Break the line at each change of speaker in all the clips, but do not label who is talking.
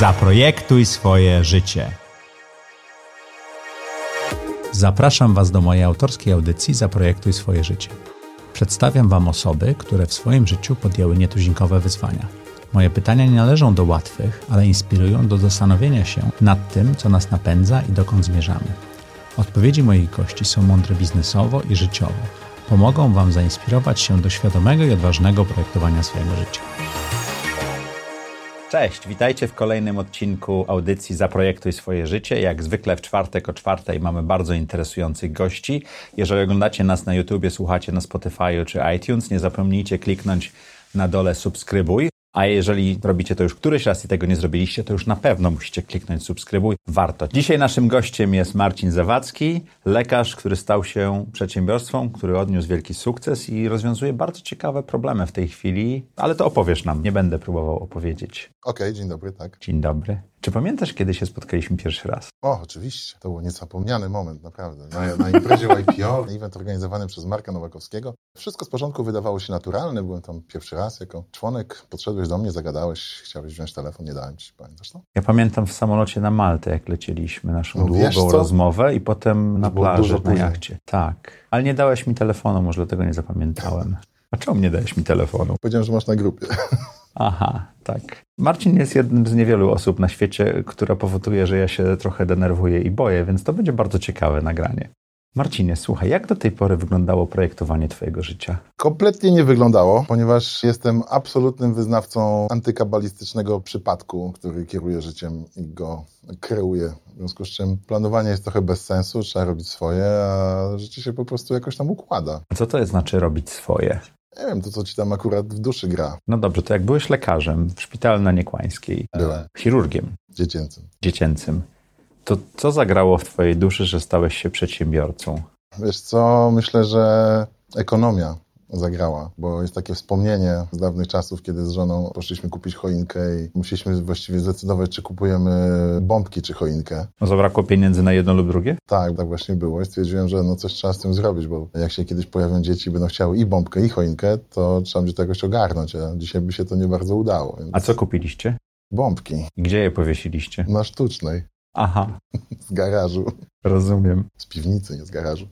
Zaprojektuj swoje życie. Zapraszam Was do mojej autorskiej audycji Zaprojektuj swoje życie. Przedstawiam Wam osoby, które w swoim życiu podjęły nietuzinkowe wyzwania. Moje pytania nie należą do łatwych, ale inspirują do zastanowienia się nad tym, co nas napędza i dokąd zmierzamy. Odpowiedzi moich gości są mądre biznesowo i życiowo. Pomogą Wam zainspirować się do świadomego i odważnego projektowania swojego życia. Cześć, witajcie w kolejnym odcinku audycji Zaprojektuj swoje życie. Jak zwykle w czwartek o czwartej mamy bardzo interesujących gości. Jeżeli oglądacie nas na YouTubie, słuchacie na Spotify czy iTunes, nie zapomnijcie kliknąć na dole subskrybuj. A jeżeli robicie to już któryś raz i tego nie zrobiliście, to już na pewno musicie kliknąć subskrybuj. Warto. Dzisiaj naszym gościem jest Marcin Zawadzki, lekarz, który stał się przedsiębiorstwem, który odniósł wielki sukces i rozwiązuje bardzo ciekawe problemy w tej chwili, ale to opowiesz nam, nie będę próbował opowiedzieć.
Okej, dzień dobry, tak.
Dzień dobry. Czy pamiętasz, kiedy się spotkaliśmy pierwszy raz?
O, oczywiście. To był niezapomniany moment, naprawdę. Na, na imprezie YPO, event organizowany przez Marka Nowakowskiego. Wszystko z porządku wydawało się naturalne. Byłem tam pierwszy raz jako członek. Podszedłeś do mnie, zagadałeś, chciałeś wziąć telefon, nie dałem ci, pamiętasz to?
Ja pamiętam w samolocie na Maltę, jak lecieliśmy naszą
No wiesz
długą
co?
rozmowę i potem na
było
plaży,
dużo
na
później.
jachcie. Tak. Ale nie dałeś mi telefonu, może dlatego nie zapamiętałem. A czemu nie dałeś mi telefonu?
Powiedziałem, że masz na grupie.
Aha, tak. Marcin jest jednym z niewielu osób na świecie, która powoduje, że ja się trochę denerwuję i boję, więc to będzie bardzo ciekawe nagranie. Marcinie, słuchaj, jak do tej pory wyglądało projektowanie Twojego życia?
Kompletnie nie wyglądało, ponieważ jestem absolutnym wyznawcą antykabalistycznego przypadku, który kieruje życiem i go kreuje. W związku z czym planowanie jest trochę bez sensu, trzeba robić swoje, a życie się po prostu jakoś tam układa.
Co to znaczy robić swoje?
Nie wiem, to co ci tam akurat w duszy gra.
No dobrze, to jak byłeś lekarzem w szpitalu na Niekłańskiej, e,
Byłem
chirurgiem
dziecięcym.
dziecięcym, to co zagrało w Twojej duszy, że stałeś się przedsiębiorcą?
Wiesz co, myślę, że ekonomia zagrała, bo jest takie wspomnienie z dawnych czasów, kiedy z żoną poszliśmy kupić choinkę i musieliśmy właściwie zdecydować, czy kupujemy bombki, czy choinkę.
No, zabrakło pieniędzy na jedno lub drugie?
Tak, tak właśnie było i stwierdziłem, że no coś trzeba z tym zrobić, bo jak się kiedyś pojawią dzieci i będą chciały i bombkę, i choinkę, to trzeba będzie to jakoś ogarnąć, a dzisiaj by się to nie bardzo udało. Więc
A co kupiliście?
Bombki
I Gdzie je powiesiliście?
na sztucznej,
Aha,
z garażu,
rozumiem.
z piwnicy, nie z garażu.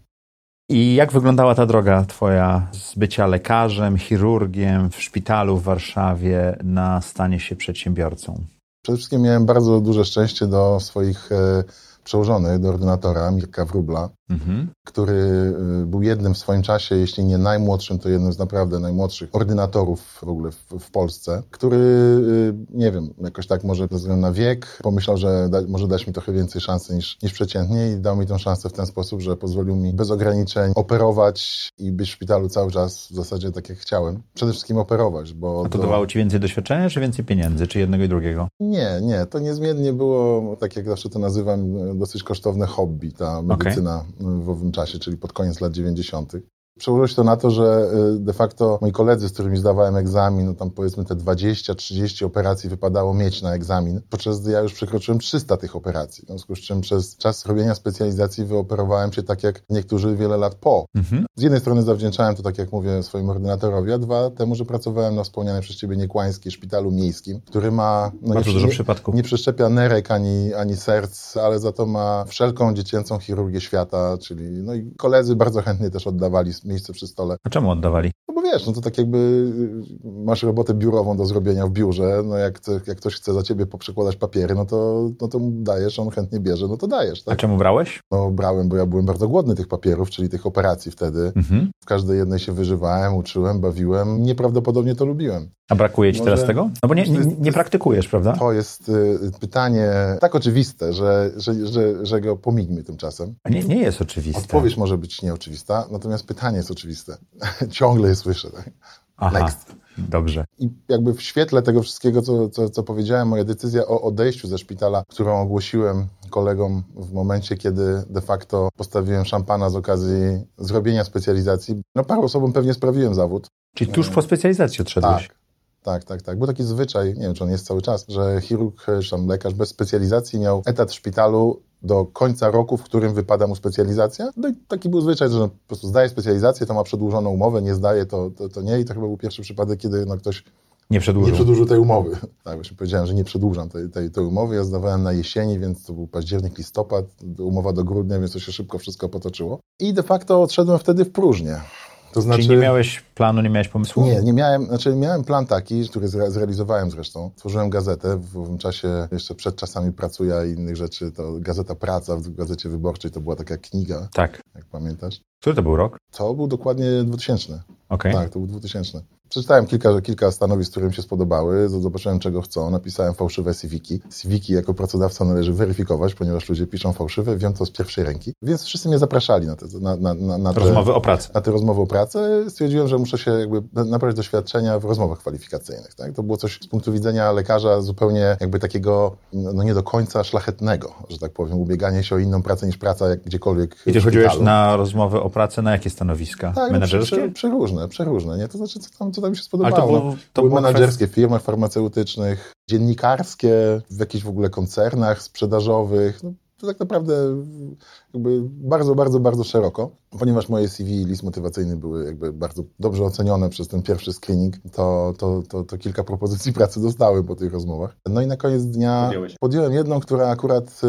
I jak wyglądała ta droga twoja z bycia lekarzem, chirurgiem w szpitalu w Warszawie na stanie się przedsiębiorcą?
Przede wszystkim miałem bardzo duże szczęście do swoich e, przełożonych, do ordynatora Mirka Wróbla,
Mhm.
który e, był jednym w swoim czasie, jeśli nie najmłodszym, to jednym z naprawdę najmłodszych ordynatorów w ogóle w, w Polsce, który, e, nie wiem, jakoś tak może ze względu na wiek, pomyślał, że da, może dać mi trochę więcej szansy niż, niż przeciętnie i dał mi tę szansę w ten sposób, że pozwolił mi bez ograniczeń operować i być w szpitalu cały czas w zasadzie tak jak chciałem. Przede wszystkim operować, bo...
A to
do-
dawało ci więcej doświadczenia, czy więcej pieniędzy, czy jednego i drugiego?
nie, nie, to niezmiennie było, tak jak zawsze to nazywam, dosyć kosztowne hobby, ta medycyna w owym czasie, czyli pod koniec lat 90. Przełożyło się to na to, że y, de facto moi koledzy, z którymi zdawałem egzamin, no tam powiedzmy te 20-30 operacji wypadało mieć na egzamin, podczas gdy ja już przekroczyłem 300 tych operacji. W związku z czym przez czas robienia specjalizacji wyoperowałem się tak jak niektórzy wiele lat po.
Mhm.
Z jednej strony zawdzięczałem to, tak jak mówię, swoim ordynatorowi, a dwa temu, że pracowałem na wspomnianym przez ciebie Niekłańskiej Szpitalu Miejskim, który ma... No
Bardzo
nie-
dużo
nie-
przypadków.
nie przeszczepia nerek ani, ani serc, ale za to ma wszelką dziecięcą chirurgię świata, czyli no i koledzy bardzo chętnie też oddawali miejsce przy stole.
A czemu oddawali?
No bo wiesz, no to tak jakby y, masz robotę biurową do zrobienia w biurze, no jak, chce- jak ktoś chce za ciebie poprzekładać papiery, no to, no to mu dajesz, on chętnie bierze, no to dajesz,
A
tak?
czemu brałeś?
No brałem, bo ja byłem bardzo głodny tych papierów, czyli tych operacji wtedy.
Mhm.
W każdej jednej się wyżywałem, uczyłem, bawiłem, nieprawdopodobnie to lubiłem.
A brakuje ci
Może-
teraz tego? No bo nie,
To
nie,
jest- to
nie
jest-
praktykujesz, prawda?
To jest y, pytanie tak oczywiste, że, że, że, że go pomigmy tymczasem.
A Nie, nie jest oczywiste.
Odpowiedź może być nieoczywista, natomiast pytanie jest oczywiste. Ciągle je słyszę. Tak?
Aha,
Next.
dobrze.
I jakby w świetle tego wszystkiego, co, co, co powiedziałem, moja decyzja o odejściu ze szpitala, którą ogłosiłem kolegom w momencie, kiedy de facto postawiłem szampana z okazji zrobienia specjalizacji. No paru osobom pewnie sprawiłem zawód.
Czyli tuż po specjalizacji odszedłeś?
E, Tak. Tak, tak, tak. Był taki zwyczaj, nie wiem czy on jest cały czas, że chirurg, e, czy tam lekarz bez specjalizacji miał etat w szpitalu do końca roku, w którym wypada mu specjalizacja. No i taki był zwyczaj, że po prostu zdaje specjalizację, to ma przedłużoną umowę, nie zdaje, to, to, to nie. I to chyba był pierwszy przypadek, kiedy no, ktoś
Nie przedłużył.
Nie przedłużył tej umowy. Tak, właśnie powiedziałem, że nie przedłużam tej, tej, tej umowy. Ja zdawałem na jesieni, więc to był październik, listopad, umowa do grudnia, więc to się szybko wszystko potoczyło. I de facto odszedłem wtedy w próżnię. To znaczy,
Czyli nie miałeś planu, nie miałeś pomysłu?
Nie, nie miałem, znaczy miałem plan taki, który zre- zrealizowałem zresztą. Tworzyłem gazetę, w owym czasie jeszcze przed czasami pracuję i innych rzeczy, to Gazeta Praca w Gazecie Wyborczej to była taka kniga,
Tak.
jak pamiętasz.
Który to był rok?
To był dokładnie 2000.
Okej.
Tak, to był 2000. Przeczytałem kilka, kilka stanowisk, które mi się spodobały, zobaczyłem czego chcą, napisałem fałszywe CV-ki. CV-ki jako pracodawca należy weryfikować, ponieważ ludzie piszą fałszywe, wiem to z pierwszej ręki. Więc wszyscy mnie zapraszali na te, na, na, na, na te
Rozmowy o pracy.
na te rozmowy o pracę, stwierdziłem, że muszę się jakby nabrać doświadczenia w rozmowach kwalifikacyjnych. Tak? To było coś z punktu widzenia lekarza zupełnie jakby takiego, no nie do końca szlachetnego, że tak powiem, ubieganie się o inną pracę niż praca jak gdziekolwiek
I ty
w
chodziłeś
szpitalu.
na rozmowy o pracę na jakie stanowiska?
Tak, no, prze-
Menedżerskie?
prze- przeróżne, przeróżne, nie? To znaczy, co tam, co tam mi się spodobało.
Ale to
no.
było- to
Były
było
menedżerskie w firmach farmaceutycznych, dziennikarskie, w jakichś w ogóle koncernach sprzedażowych. No, to tak naprawdę jakby bardzo, bardzo, bardzo szeroko. Ponieważ moje CV i list motywacyjny były jakby bardzo dobrze ocenione przez ten pierwszy screening, to, to, to, to kilka propozycji pracy dostałem po tych rozmowach. No i na koniec dnia
Podjąłeś.
podjąłem jedną, która akurat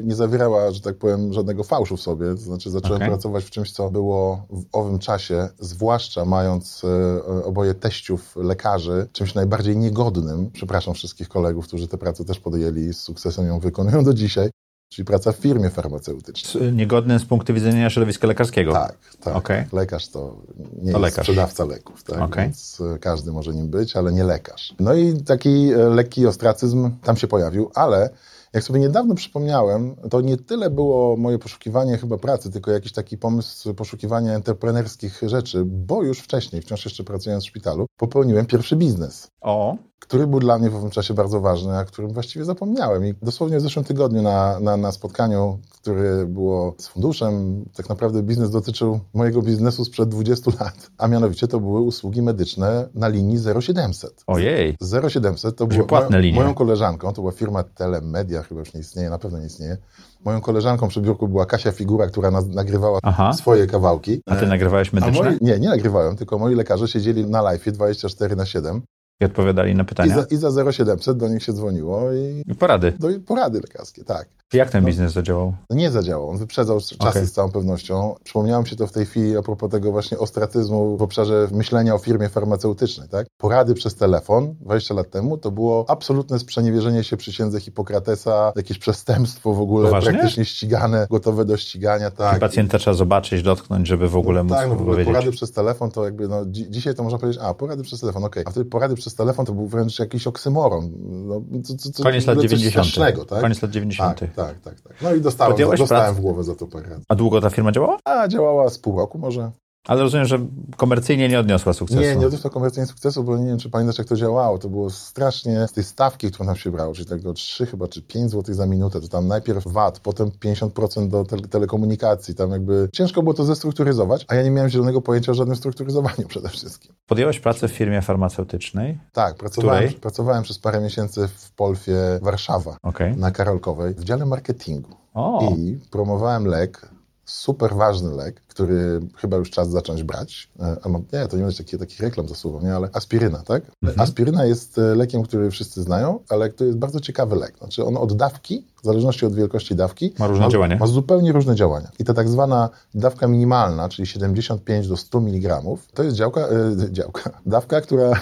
y, nie zawierała, że tak powiem, żadnego fałszu w sobie. To znaczy zacząłem
Okej.
pracować w czymś, co było w owym czasie, zwłaszcza mając y, oboje teściów lekarzy, czymś najbardziej niegodnym. Przepraszam wszystkich kolegów, którzy tę pracę też podjęli i z sukcesem ją wykonują do dzisiaj. Czyli praca w firmie farmaceutycznej.
Z- Niegodny z punktu widzenia środowiska lekarskiego.
Tak, tak.
Okej.
Lekarz to nie
To
jest
lekarz.
sprzedawca leków, tak?
Okej.
Więc e, każdy może nim być, ale nie lekarz. No i taki e, lekki ostracyzm tam się pojawił, ale jak sobie niedawno przypomniałem, to nie tyle było moje poszukiwanie chyba pracy, tylko jakiś taki pomysł poszukiwania entrepreneurskich rzeczy, bo już wcześniej, wciąż jeszcze pracując w szpitalu, popełniłem pierwszy biznes
O,
który był dla mnie w owym czasie bardzo ważny, a którym właściwie zapomniałem. I dosłownie w zeszłym tygodniu na, na, na spotkaniu, które było z funduszem, tak naprawdę biznes dotyczył mojego biznesu sprzed 20 lat, a mianowicie to były usługi medyczne na linii 0700.
ojej.
0700 to
Czyli
było
płatne
moją,
linie.
moją koleżanką, to była firma Telemedia, chyba już nie istnieje, na pewno nie istnieje. Moją koleżanką przy biurku była Kasia Figura, która nas, nagrywała
Aha.
swoje kawałki.
A ty nagrywałeś
E, A
medyczne
moi, nie, nie nagrywałem, tylko moi lekarze siedzieli na live 24 na 7
i odpowiadali na
i
pytania.
za, I za 0700 do nich się dzwoniło i
I porady.
do porady lekarskie, tak.
Jak ten biznes zadziałał?
No nie zadziałał, on wyprzedzał czasy
Okej.
z całą pewnością. Przypomniałem się to w tej chwili a propos tego właśnie ostracyzmu w obszarze myślenia o firmie farmaceutycznej, tak? Porady przez telefon 20 lat temu to było absolutne sprzeniewierzenie się przysiędze Hipokratesa, jakieś przestępstwo w ogóle
Poważnie?
praktycznie ścigane, gotowe do ścigania, tak.
Pacjenta trzeba zobaczyć, dotknąć, żeby w ogóle móc
Tak, no w ogóle
powiedzieć.
porady przez telefon to jakby, no dzi- dzisiaj to można powiedzieć, a porady przez telefon, okej, a wtedy porady przez telefon to był wręcz jakiś oksymoron. No, co, co, co,
Koniec
w ogóle
lat
coś
90.
strasznego, tak?
Koniec lat
tak,
90.
tak, tak, tak. No i dostałem,
Podjąłeś
dostałem
pracę?
w głowę za to poradę.
A długo ta firma działała?
A działała z pół roku może.
Ale rozumiem, że komercyjnie nie odniosła sukcesu.
Nie, nie odniosła komercyjnie sukcesu, bo nie wiem, czy pamiętasz, jak to działało. To było strasznie z tej stawki, którą nam się brało, czyli tego 3 chyba, czy 5 zł za minutę, to tam najpierw VAT, potem 50% do tele- telekomunikacji, tam jakby ciężko było to zestrukturyzować, a ja nie miałem zielonego pojęcia o żadnym strukturyzowaniu przede wszystkim.
Podjęłaś pracę w firmie farmaceutycznej.
Tak, pracowałem,
Której?
pracowałem przez parę miesięcy w Polfie Warszawa
Okej.
na Karolkowej w dziale marketingu
O,
No i promowałem lek, super ważny lek, który chyba już czas zacząć brać. E, A mam, nie, to nie będzie taki, taki reklam zasuwał, nie, ale aspiryna, tak?
Mhm.
Aspiryna jest e, lekiem, który wszyscy znają, ale to jest bardzo ciekawy lek. Znaczy on od dawki, w zależności od wielkości dawki,
Ma różne działanie.
Ma zupełnie różne działania. I ta tak zwana dawka minimalna, czyli 75 do 100 mg, to jest działka, e, działka, dawka, która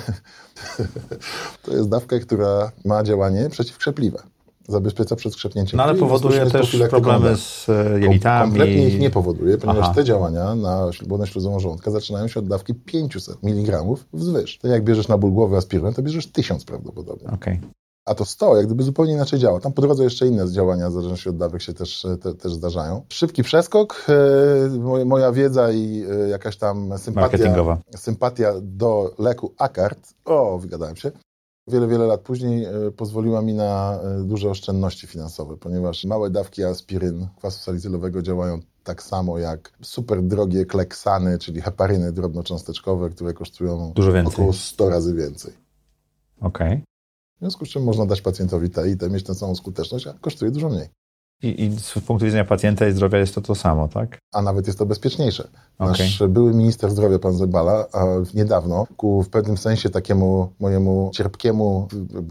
to jest dawka, która ma działanie przeciwkrzepliwe. Zabezpiecza przed skrzepnięciem
no ale
krwi i
powoduje
bezpośrednio
też
z profilaktyką
problemy
leku.
z e, jelitami.
Kompletnie ich nie powoduje, ponieważ
Aha.
te działania na błonę śluzową żołądka zaczynają się od dawki 500 mg wzwyż. To jak bierzesz na ból głowy aspirynę, to bierzesz 1000 prawdopodobnie.
Okej.
A to 100 jak gdyby zupełnie inaczej działa. Tam po drodze jeszcze inne działania, w zależności od dawek, się też, e, te, też zdarzają. Szybki przeskok, e, moja- moja wiedza i e, jakaś tam sympatia
Marketingowa.
sympatia do leku Akard, o, wygadałem się, wiele, wiele lat później e, pozwoliła mi na e, duże oszczędności finansowe, ponieważ małe dawki aspiryn kwasu salicylowego działają tak samo jak super drogie kleksany, czyli heparyny drobnocząsteczkowe, które kosztują
Dużo więcej.
około 100 razy więcej.
Okej.
W związku z czym można dać pacjentowi te i te, mieć tę samą skuteczność, a kosztuje dużo mniej.
I, I, z punktu widzenia pacjenta i zdrowia jest to to samo, tak?
A nawet jest to bezpieczniejsze. Nasz były minister zdrowia, pan Zebala, niedawno ku w pewnym sensie takiemu mojemu cierpkiemu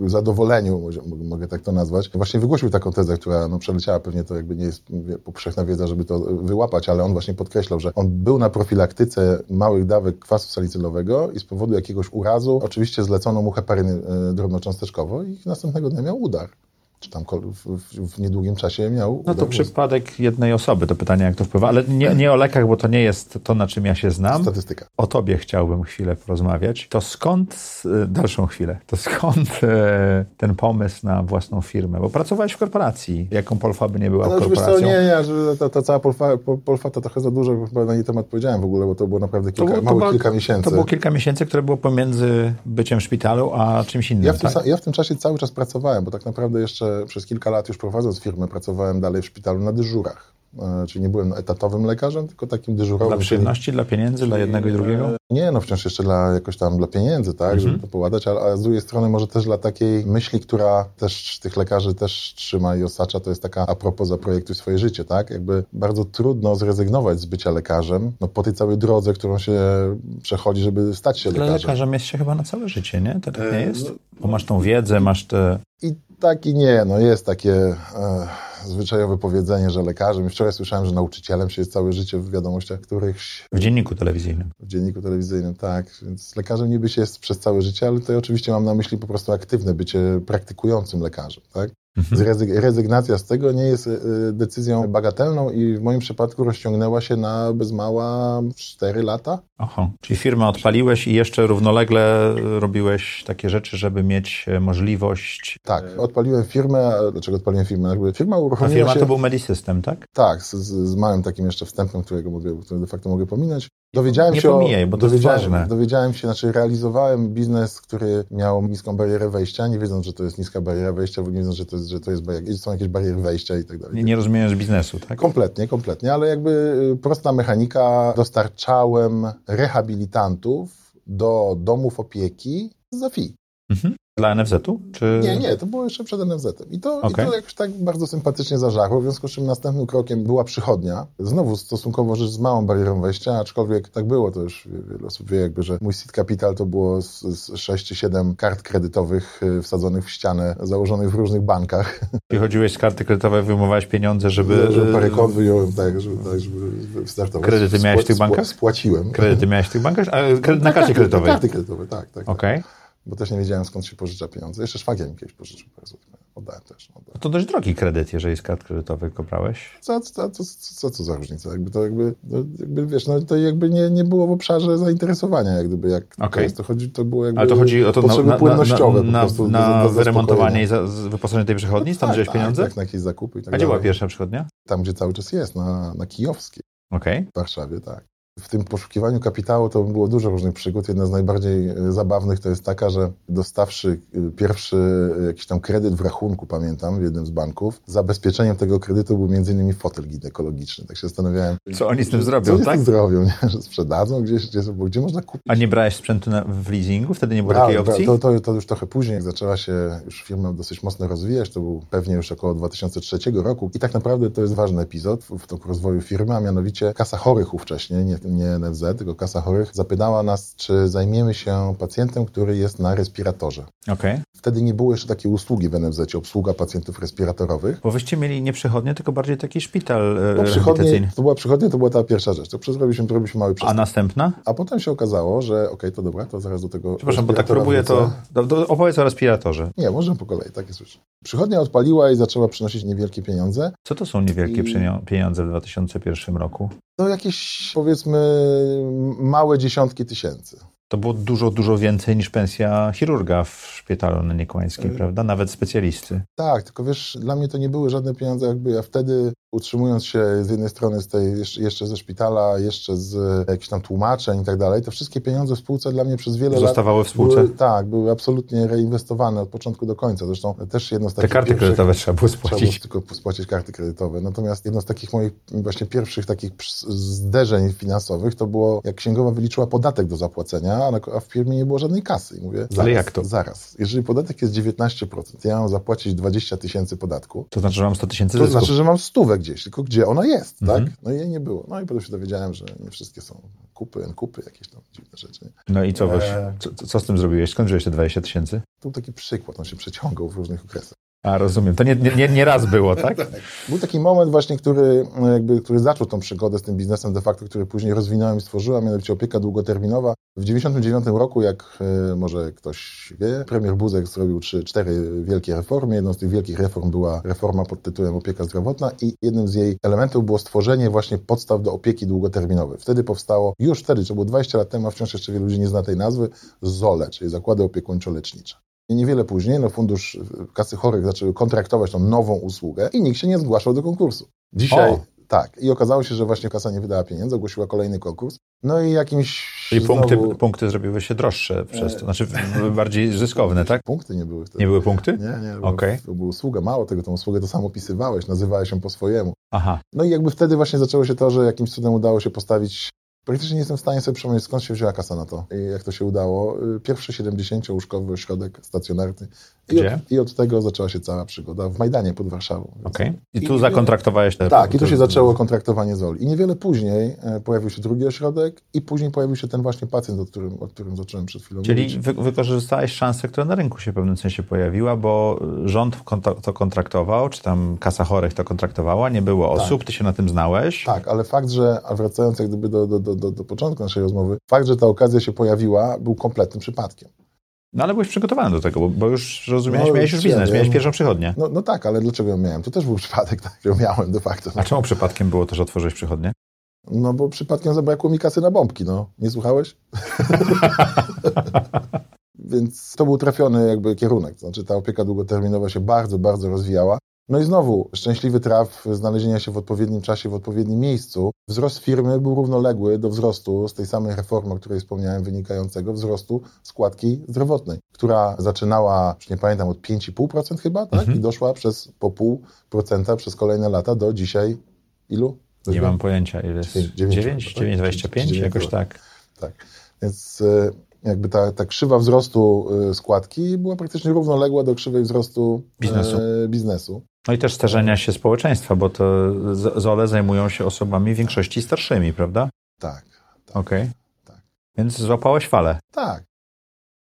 zadowoleniu, mogę tak to nazwać, właśnie wygłosił taką tezę, która no, przeleciała, pewnie to jakby nie jest powszechna wiedza, żeby to wyłapać, ale on właśnie podkreślał, że on był na profilaktyce małych dawek kwasu salicylowego i z powodu jakiegoś urazu oczywiście zlecono mu heparyny e, drobnocząsteczkowo i następnego dnia miał udar czy tam w, w, niedługim czasie miał.
No to przypadek jednej osoby, to pytanie, jak to wpływa, ale nie, nie, o lekach, bo to nie jest to, na czym ja się znam.
Statystyka.
O tobie chciałbym chwilę porozmawiać. To skąd, y, dalszą chwilę, to skąd e, ten pomysł na własną firmę? Bo pracowałeś w korporacji, jaką Polfa by nie była no, korporacją.
Co, nie, nie, że ta, ta cała Polfa, Polfa to trochę za dużo, chyba na jej temat powiedziałem w ogóle, bo to było naprawdę kilka, to, to ba, kilka miesięcy.
To było kilka miesięcy, które było pomiędzy byciem w szpitalu, a czymś innym,
ja w, tym,
tak?
ja w tym czasie cały czas pracowałem, bo tak naprawdę jeszcze przez kilka lat już prowadząc firmę, pracowałem dalej w szpitalu na dyżurach. E, Czyli nie byłem etatowym lekarzem, tylko takim dyżurowym.
Dla przyjemności, czyli, dla pieniędzy, czyli, dla jednego i drugiego?
Nie, no wciąż jeszcze dla jakoś tam dla pieniędzy, tak, mhm. żeby to poładać, ale, ale z drugiej strony może też dla takiej myśli, która też tych lekarzy też trzyma i osacza, to jest taka a propos zaprojektuj swoje życie, tak? Jakby bardzo trudno zrezygnować z bycia lekarzem, no po tej całej drodze, którą się przechodzi, żeby stać się
ale
lekarzem.
lekarzem jest się chyba na całe życie, nie? To
E,
tak nie jest?
no,
Bo masz tą wiedzę, masz te...
I tak i nie. No jest takie e, zwyczajowe powiedzenie, że lekarzem. I wczoraj słyszałem, że nauczycielem się jest całe życie w wiadomościach którychś.
W dzienniku telewizyjnym.
W dzienniku telewizyjnym, tak. Więc lekarzem niby się jest przez całe życie, ale tutaj oczywiście mam na myśli po prostu aktywne bycie praktykującym lekarzem, tak?
Mhm.
Zrezyg- rezygnacja z tego nie jest y, decyzją bagatelną i w moim przypadku rozciągnęła się na bez mała 4 lata.
Aha, czyli firmę odpaliłeś i jeszcze równolegle robiłeś takie rzeczy, żeby mieć e, możliwość...
Tak, odpaliłem firmę. Dlaczego odpaliłem firmę? Jakby firma uruchomiła
A firma
się...
to był Medisystem, tak?
Tak, z, z, małym takim jeszcze wstępem, którego mogę, który de facto mogę pominąć. Dowiedziałem
nie
się
pomijaj, o, bo to
dowiedziałem,
jest ważne.
dowiedziałem się, znaczy realizowałem biznes, który miał niską barierę wejścia, nie wiedząc, że to jest niska bariera wejścia, nie wiedząc, że to, jest, że to jest barier, są jakieś bariery wejścia i tak dalej.
Nie, nie rozumiesz biznesu, tak?
Kompletnie, kompletnie, ale jakby y, prosta mechanika, dostarczałem rehabilitantów do domów opieki za fi.
Mhm. Dla NFZ-u? Czy...
Nie, nie, to było jeszcze przed NFZ-em. I to, okay. I to jakoś tak bardzo sympatycznie zażarło, w związku z czym następnym krokiem była przychodnia. Znowu stosunkowo rzecz z małą barierą wejścia, aczkolwiek tak było, to już wiele osób wie jakby, że mój seed capital to było z, z 6 czy 7 kart kredytowych y, wsadzonych w ścianę, założonych w różnych bankach.
I chodziłeś z karty kredytowej, wyjmowałeś pieniądze, żeby... e,
Żeby parę kont wyjąłem, tak, żeby, tak, żeby startować.
Kredyty miałeś w tych bankach?
Spłaciłem.
Kredyty miałeś w tych bankach? A, e, na, na karcie kredytowej?
Na karty kredytowej, No tak. tak,
Okej. Okay.
Tak bo też nie wiedziałem skąd się pożycza pieniądze. Jeszcze szwagier mi kiedyś pożyczył parę złotych. Oddałem też. no, Oddałem.
To dość drogi kredyt, jeżeli z kart kredytowych go brałeś.
Co, co, co, co, co za różnica? Jakby to jakby, no, jakby wiesz, no, to jakby nie, nie było w obszarze zainteresowania, jak gdyby, jak
okay. to,
jest, to chodzi, to było jakby
Ale to chodzi o to
Yy,
no,
potrzeby
na,
płynnościowe.
Na, na, na, po na, na wyremontowanie i za, wyposażenie tej przychodni? No, Tam
tak,
wziąłeś
tak,
pieniądze?
Tak, na jakieś zakupy i tak
A gdzie
dalej.
była pierwsza przychodnia?
Tam, gdzie cały czas jest, na, na Kijowskiej.
Okay.
W Warszawie, tak w tym poszukiwaniu kapitału to było dużo różnych przygód. Jedna z najbardziej e, zabawnych to jest taka, że dostawszy e, pierwszy jakiś tam kredyt w rachunku, pamiętam, w jednym z banków, zabezpieczeniem tego kredytu był między innymi fotel ginekologiczny. Tak się zastanawiałem.
Co oni z tym zrobią,
co
tak?
Co zrobią, nie? że sprzedadzą gdzieś, gdzie, gdzie można kupić.
A nie brałeś sprzętu na, w leasingu? Wtedy nie było takiej opcji?
Tak, To, to, to, już trochę później, jak zaczęła się już firma dosyć mocno rozwijać, to był pewnie już około 2003 roku i tak naprawdę to jest ważny epizod w, w toku rozwoju firmy, a mianowicie kasa chorych ówcześnie, nie, nie NFZ, tylko Kasa Chorych, zapytała nas, czy zajmiemy się pacjentem, który jest na respiratorze.
Okay.
Wtedy nie było jeszcze takiej usługi w NFZ, obsługa pacjentów respiratorowych.
Bo wyście mieli nie przychodnie, tylko bardziej taki szpital e,
no, przychodnie, To była przychodnia, to była ta pierwsza rzecz. To zrobiliśmy, zrobiliśmy mały przeskok.
A następna?
A potem się okazało, że okej, okay, to dobra, to zaraz do tego
Przepraszam, bo tak próbuję to... Do, do, opowiedz o respiratorze.
Nie, możemy po kolei, tak jest już. Przychodnia odpaliła i zaczęła przynosić niewielkie pieniądze.
Co to są niewielkie I... pieniądze w 2001 roku?
No jakieś powiedzmy małe dziesiątki tysięcy.
To było dużo, dużo więcej niż pensja chirurga w szpitalu na
Y-
Niekłańskiej, prawda? Nawet specjalisty.
Tak, tylko wiesz, dla mnie to nie były żadne pieniądze, jakby ja wtedy utrzymując się z jednej strony z tej, jeszcze ze szpitala, jeszcze z e, jakichś tam tłumaczeń i tak dalej, te wszystkie pieniądze w spółce dla mnie przez wiele
Zostawały
lat...
w spółce?
Były, tak, były absolutnie reinwestowane od początku do końca. Zresztą też jedno z
Te
takich
karty
pierwszych-
kredytowe trzeba było
Znaczy Trzeba było
spłacić.
tylko spłacić karty kredytowe. Natomiast jedno z takich moich właśnie pierwszych takich ps- zderzeń finansowych to było, jak księgowa wyliczyła podatek do zapłacenia, a na- a w firmie nie było żadnej kasy. I mówię, zaraz,
jak to?
Zaraz. Jeżeli podatek jest 19%, ja mam zapłacić 20 tysięcy podatku,
To znaczy, że mam 100 tysięcy
to
zysków.
znaczy, że mam stówę gdzieś, tylko gdzie ona jest,
Mhm.
tak? No i jej nie było. No i potem się dowiedziałem, że nie wszystkie są kupy, kupy, jakieś tam dziwne rzeczy. Nie?
No i co, Woś,
Eee.
co, co z tym zrobiłeś? Skąd wziąłeś te 20 tysięcy?
To był taki przykład, on się przeciągał w różnych okresach.
A, rozumiem. To nie, nie, nie, nie raz było, tak?
Był taki moment właśnie, który, no, jakby, który zaczął tą przygodę z tym biznesem de facto, który później rozwinąłem i stworzyłem, mianowicie opieka długoterminowa. W 99 roku, jak e, może ktoś wie, premier Buzek zrobił trzy, cztery wielkie reformy. Jedną z tych wielkich reform była reforma pod tytułem opieka zdrowotna i jednym z jej elementów było stworzenie właśnie podstaw do opieki długoterminowej. Wtedy powstało, już wtedy, to było 20 lat temu, a wciąż jeszcze wielu ludzi nie zna tej nazwy, ZOLE, czyli Zakłady Opiekuńczo-Lecznicze. I niewiele później no, fundusz y, kasy chorych zaczęły kontraktować tą nową usługę i nikt się nie zgłaszał do konkursu. Dzisiaj
O!
tak. I okazało się, że właśnie kasa nie wydała pieniędzy, ogłosiła kolejny konkurs. No i jakimś.
Czyli punkty,
znowu- E-
punkty zrobiły się droższe przez to. Znaczy w- w- bardziej zyskowne, tak?
Punkty nie były wtedy.
Nie były punkty?
Nie, nie, bo
Okej.
to była usługa, mało tego, tą usługę to sam opisywałeś, nazywałeś ją po swojemu.
Aha.
No i jakby wtedy właśnie zaczęło się to, że jakimś cudem udało się postawić. Praktycznie nie jestem w stanie sobie przypomnieć, skąd się wzięła kasa na to i jak to się udało. Y, Pierwszy 70-łóżkowy ośrodek stacjonarny. I
Gdzie?
Od, I od tego zaczęła się cała przygoda w Majdanie pod Warszawą. Więc-
Okej. I tu
I-
zakontraktowałeś te...
Tak, i tu
te-
się zaczęło kontraktowanie z Oli. I niewiele później e, pojawił się drugi ośrodek i później pojawił się ten właśnie pacjent, o którym, o którym zacząłem przed chwilą
Czyli
mówić.
wy, wykorzystałeś szansę, która na rynku się w pewnym sensie pojawiła, bo y, rząd konta- to kontraktował, czy tam kasa chorych to kontraktowała, nie było osób, ty się na tym znałeś.
Tak, ale fakt, że, a wracając jak gdyby do, do, do, do, do początku naszej rozmowy, fakt, że ta okazja się pojawiła, był kompletnym przypadkiem.
No ale byłeś przygotowany do tego, bo, bo już rozumiałeś,
No,
miałeś już
wiem,
biznes, miałeś
wiem.
pierwszą przychodnię.
No, no tak, ale dlaczego ją miałem? To też był przypadek, tak, ją miałem de facto.
A czemu przypadkiem było to, że otworzyłeś przychodnię?
No bo przypadkiem zabrakło mi kasy na bombki, no. Nie słuchałeś? Więc to był trafiony jakby kierunek. To znaczy ta opieka długoterminowa się bardzo, bardzo rozwijała. No i znowu, szczęśliwy traf znalezienia się w odpowiednim czasie, w odpowiednim miejscu. Wzrost firmy był równoległy do wzrostu z tej samej reformy, o której wspomniałem, wynikającego wzrostu składki zdrowotnej, która zaczynała, już nie pamiętam, od 5,5% chyba, tak?
Mhm.
I doszła przez po pół procenta przez kolejne lata do dzisiaj ilu?
Nie mam pojęcia, ile jest.
Dziewięć,
9,
dziewięć
9,
chyba, tak?
25,
Dziewięć
jakoś
chyba.
tak.
Tak. Więc y, jakby ta, ta krzywa wzrostu y, składki była praktycznie równoległa do krzywej wzrostu
Biznesu.
y, biznesu.
No i też starzenia się społeczeństwa, bo to z- ZOLE zajmują się osobami w większości starszymi, prawda?
Tak,
Okej.
Tak.
Więc złapałeś falę.
tak.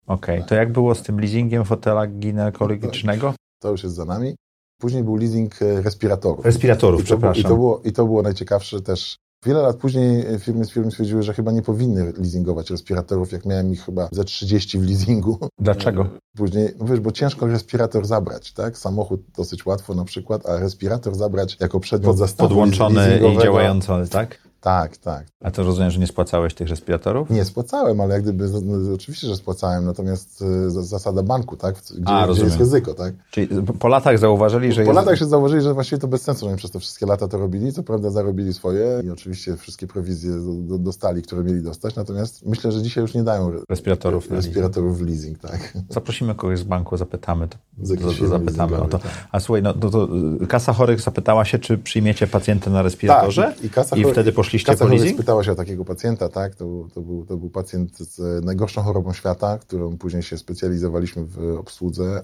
Okej. To jak było z tym leasingiem fotela ginekologicznego?
To już jest za nami. Później był leasing y, respiratorów.
Respiratorów,
I to, było, i, to
przepraszam.
było, I to było najciekawsze też. Wiele lat później y, firmy z firmy stwierdziły, że chyba nie powinny leasingować respiratorów, jak miałem ich chyba ze 30 w leasingu.
Dlaczego?
Później, no wiesz, bo ciężko respirator zabrać, tak? Samochód dosyć łatwo na przykład, a respirator zabrać jako przedmiot zastawu
Podłączony i
leasingowego-
działający, tak?
Tak, tak.
A to rozumiem, że nie spłacałeś tych respiratorów?
Nie spłacałem, ale jak gdyby, z- no, oczywiście, że spłacałem, natomiast y, z- zasada banku, tak? Gdzie, gdzie
rozumiem.
jest ryzyko, tak?
Czyli po latach zauważyli, że
Po latach
jest...
się zauważyli, że właściwie to bez sensu, że oni przez te wszystkie lata to robili, co prawda zarobili swoje i oczywiście wszystkie prowizje do, do, dostali, które mieli dostać, natomiast myślę, że dzisiaj już nie dają re-
Respiratorów. na leasing.
respiratorów w leasing, tak?
Zaprosimy kogoś z banku, zapytamy, to,
Z jakiejś
to,
firmy
zapytamy o to.
leasingowej, tak.
A słuchaj, no to, to y, kasa chorych zapytała się, czy przyjmiecie pacjenta na respiratorze
Tak, i- i kasa
i
chor-
wtedy poszliście
Kasa
po
Chorych
leasing?
spytała się o takiego pacjenta, tak? To, był- to, był, to był pacjent z e, najgorszą chorobą świata, którą później się specjalizowaliśmy w obsłudze.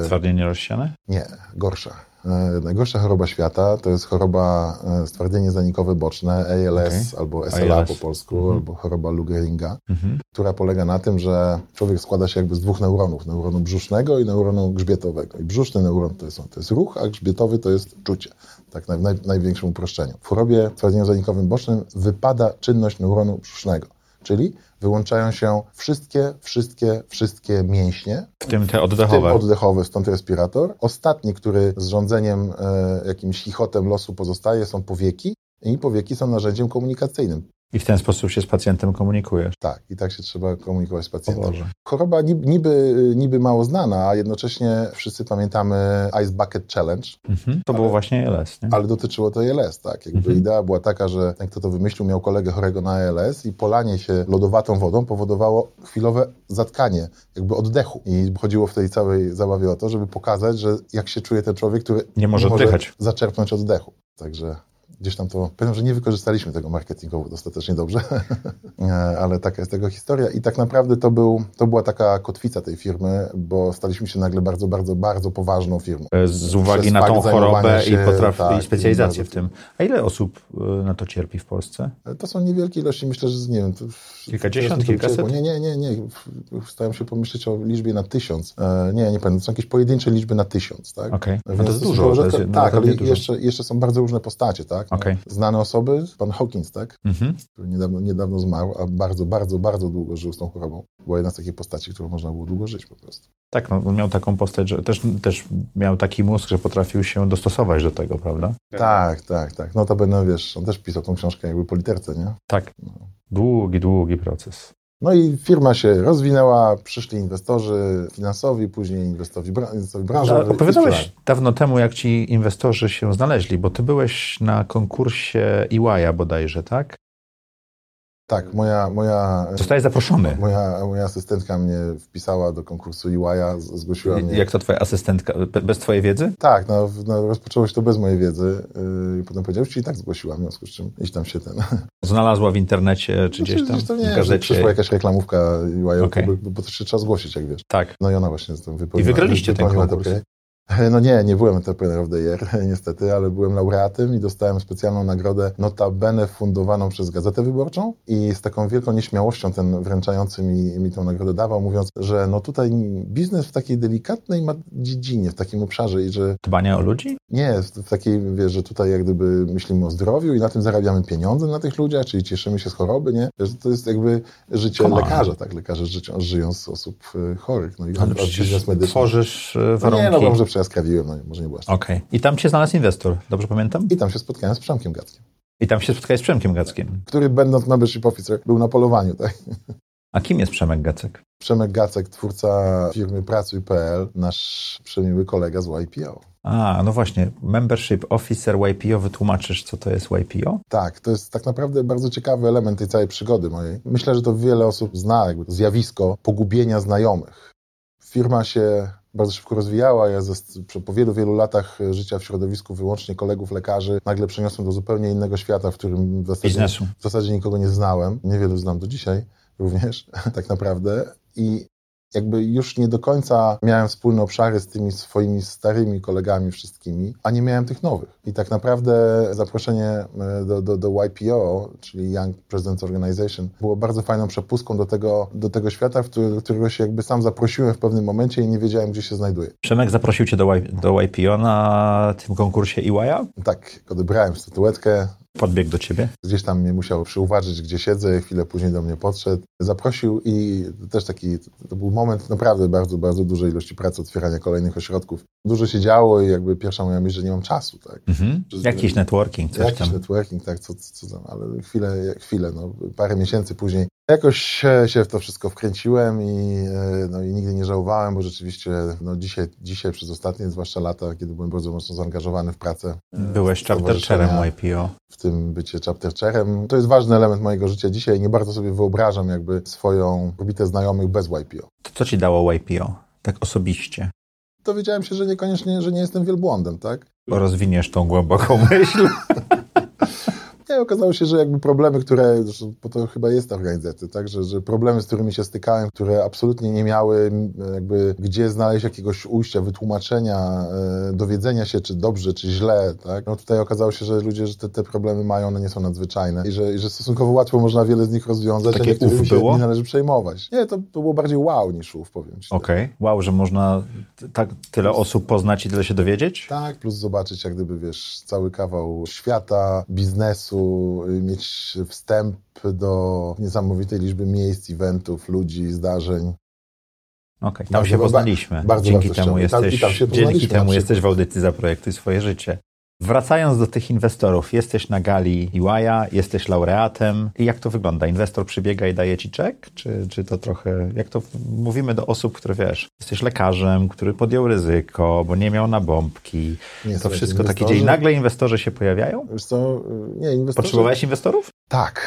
E,
Stwardnienie rozsiane?
Nie, gorsza. E, Najgorsza choroba świata to jest choroba e, stwardnienie zanikowe boczne, ALS albo SLA
ALS.
po polsku, albo choroba Lou Gehriga, która polega na tym, że człowiek składa się jakby z dwóch neuronów, neuronu brzusznego i neuronu grzbietowego. I brzuszny neuron to jest, to jest ruch, a grzbietowy to jest czucie, tak w naj, naj, największym uproszczeniu. W chorobie stwardnieniu zanikowym bocznym wypada czynność neuronu brzusznego, czyli wyłączają się wszystkie, wszystkie, wszystkie mięśnie,
W tym te oddechowe.
tym oddechowy, stąd respirator. Ostatni, który z rządzeniem e, jakimś chichotem losu pozostaje, są powieki. I powieki są narzędziem komunikacyjnym.
I w ten sposób się z pacjentem komunikujesz.
Tak, i tak się trzeba komunikować z pacjentem. Choroba nib- niby, niby mało znana, a jednocześnie wszyscy pamiętamy Ice Bucket Challenge.
Mhm. To było właśnie LS. Nie?
Ale dotyczyło to ALS, tak. Jakby
Mhm.
idea była taka, że ten, kto to wymyślił, miał kolegę chorego na ALS i polanie się lodowatą wodą powodowało chwilowe zatkanie, jakby oddechu. I chodziło w tej całej zabawie o to, żeby pokazać, że jak się czuje ten człowiek, który
Nie może oddychać.
zaczerpnąć oddechu. Także gdzieś tam to, powiem, że nie wykorzystaliśmy tego marketingowo dostatecznie dobrze, E, ale taka jest tego historia i tak naprawdę to, był, to była taka kotwica tej firmy, bo staliśmy się nagle bardzo, bardzo, bardzo poważną firmą.
e, Z uwagi
Przez
na tą
fakt zajmowania
chorobę
się,
i, potraf-
tak,
i specjalizację
i
w tym. A ile osób y, na to cierpi w Polsce?
Ale E, To są niewielkie ilości, myślę, że z- nie wiem. To,
Kilkadziesiąt,
teraz to
kilkaset?
ciepło. Nie, nie, nie, nie. Staram się pomyśleć o liczbie na tysiąc. E, nie, nie pamiętam. Są jakieś pojedyncze liczby na tysiąc, tak?
Okej. No to
Więc
jest dużo,
są
to
rzadko-
jest
tak, ale
naprawdę dużo.
jeszcze, jeszcze są bardzo różne postacie, tak?
Okej.
Znane osoby, pan Hawkins, tak?
Mhm.
Który niedawno, niedawno zmarł, a bardzo, bardzo, bardzo długo żył z tą chorobą. Była jedna z takich postaci, którą można było długo żyć po prostu.
Tak, no, on miał taką postać, że też, też miał taki mózg, że potrafił się dostosować do tego, prawda?
Tak, tak, tak. No to będę, wiesz, on też pisał tą książkę jakby po literce, nie?
Tak. Długi, długi proces.
No i firma się rozwinęła, przyszli inwestorzy finansowi, później inwestorzy, bra- inwestorzy branżowi. i tak
Opowiadałeś
sprzedali.
dawno temu, jak ci inwestorzy się znaleźli, bo ty byłeś na konkursie EY'a bodajże, tak?
Tak, moja, moja,
Zostałeś zaproszony.
moja, moja asystentka mnie wpisała do konkursu E UI, zgłosiła mnie.
Jak to twoja asystentka? Be- Bez twojej wiedzy?
Tak, no, w- no, rozpoczęło się to bez mojej wiedzy. Yy, i potem powiedział, czyli tak zgłosiłam, w związku z czym iść tam się ten.
Znalazła w internecie czy gdzieś tam?
Znaczy, to
w
nie, że
gazecie.
przyszła jakaś reklamówka UI,
Okej.
bo, bo to się trzeba zgłosić, jak wiesz.
Tak.
No i ona właśnie z tym wypełniła.
I wygraliście ten
wypełniła
konkurs.
te- No nie, nie byłem Entrepreneur of the Year, niestety, ale byłem laureatem i dostałem specjalną nagrodę, notabene fundowaną przez Gazetę Wyborczą i z taką wielką nieśmiałością ten wręczający mi, mi tę nagrodę dawał, mówiąc, że no tutaj biznes w takiej delikatnej ma dziedzinie, w takim obszarze i że
Dbanie o ludzi?
nie, w- w takiej, wiesz, że tutaj jak gdyby myślimy o zdrowiu i na tym zarabiamy pieniądze na tych ludziach, czyli cieszymy się z choroby, nie? Wiesz, to jest jakby życie
Come on.
lekarza, tak? Lekarze życią, żyją z osób e, chorych, no i
Ale
od- od
przecież
biznes medyczny.
tworzysz e,
No
warunki.
nie, no dobrze przejaskrawiłem, no może nie byłaś.
Okej. I tam cię znalazł inwestor, dobrze pamiętam?
I tam się spotkałem z Przemkiem Gackiem,
I tam się spotkałeś z Przemkiem Gackiem.
który będąc membership officer był na polowaniu, tak?
A kim jest Przemek Gacek?
Przemek Gacek, twórca firmy Pracuj.pl, nasz przemiły kolega z Y YPO.
A, no właśnie, Membership Officer YPO, wytłumaczysz, co to jest Y YPO?
Tak, to jest tak naprawdę bardzo ciekawy element tej całej przygody mojej. Myślę, że to wiele osób zna jakby to zjawisko pogubienia znajomych. Firma się bardzo szybko rozwijała. Ja ze, po wielu, wielu latach życia w środowisku wyłącznie kolegów lekarzy nagle przeniosłem do zupełnie innego świata, w którym w zasadzie,
Biznesu.
w zasadzie nikogo nie znałem. Niewielu znam do dzisiaj również, tak naprawdę. I jakby już nie do końca miałem wspólne obszary z tymi swoimi starymi kolegami wszystkimi, a nie miałem tych nowych. I tak naprawdę zaproszenie e, do, do, do YPO, czyli Young Presidents Organization, było bardzo fajną przepustką do tego, do tego świata, w który, do którego się jakby sam zaprosiłem w pewnym momencie i nie wiedziałem, gdzie się znajduję.
Przemek zaprosił cię do, Y- do YPO na tym konkursie EY'a?
Tak, odebrałem statuetkę,
Podbiegł do ciebie?
gdzieś tam mnie musiał przyuważyć, gdzie siedzę, chwilę później do mnie podszedł, zaprosił i też taki, to był moment naprawdę bardzo, bardzo dużej ilości pracy, otwierania kolejnych ośrodków. Dużo się działo i jakby pierwsza moja myśl, że nie mam czasu, tak?
Mhm. Jakiś networking, coś
Jakiś
tam.
networking, tak, co, co, co tam, ale chwilę, chwilę, no, parę miesięcy później. Jakoś się- się w to wszystko wkręciłem i, e, no, i nigdy nie żałowałem, bo rzeczywiście no, dzisiaj, dzisiaj przez ostatnie, zwłaszcza lata, kiedy byłem bardzo mocno zaangażowany w pracę,
Byłeś Y chaptercherem
stowarzyszenia.
YPO.
w tym bycie chaptercherem. To jest ważny element mojego życia dzisiaj. Nie bardzo sobie wyobrażam jakby swoją orbitę znajomych bez Y YPO.
To co ci dało YPO? Tak osobiście.
Dowiedziałem się, że niekoniecznie, że nie jestem wielbłądem, tak?
Bo rozwiniesz tą głęboką myśl.
Nie, okazało się, że jakby problemy, które, zresztą po to chyba jest ta organizacja, tak? Że, że problemy, z którymi się stykałem, które absolutnie nie miały m, jakby gdzie znaleźć jakiegoś ujścia, wytłumaczenia, e, dowiedzenia się, czy dobrze, czy źle, tak? No tutaj okazało się, że ludzie, że te, te problemy mają, one nie są nadzwyczajne i że, i że stosunkowo łatwo można wiele z nich rozwiązać,
Takie
a niektórymi
uf
się
było?
nie należy przejmować. Nie, to, to było bardziej wow niż ów, powiem ci.
Okej. Wow, że można t- tak tyle osób poznać i tyle się dowiedzieć?
Tak, plus zobaczyć jak gdyby, wiesz, cały kawał świata, biznesu, y, mieć wstęp do niesamowitej liczby miejsc, eventów, ludzi, zdarzeń.
Okej. Tam
Bardzo
się
ba-
poznaliśmy.
bardzo
Dzięki
bardzo
temu
chciałbym. I tam-
jesteś,
i tam się
dzięki
poznaliśmy znaczy- na
temu
przykład.
jesteś w audycji Zaprojektuj swoje życie. Wracając do tych inwestorów, jesteś na gali EY'a, jesteś laureatem. I jak to wygląda? Inwestor przybiega i daje ci czek? Czy, czy to trochę... Jak to mówimy do osób, które wiesz, jesteś lekarzem, który podjął ryzyko, bo nie miał na bombki. to
Niestety,
wszystko takie
inwestorzy-
dzieje. I nagle inwestorzy się pojawiają?
Wiesz co, y, nie, inwestorzy...
Potrzebowałeś inwestorów?
Tak,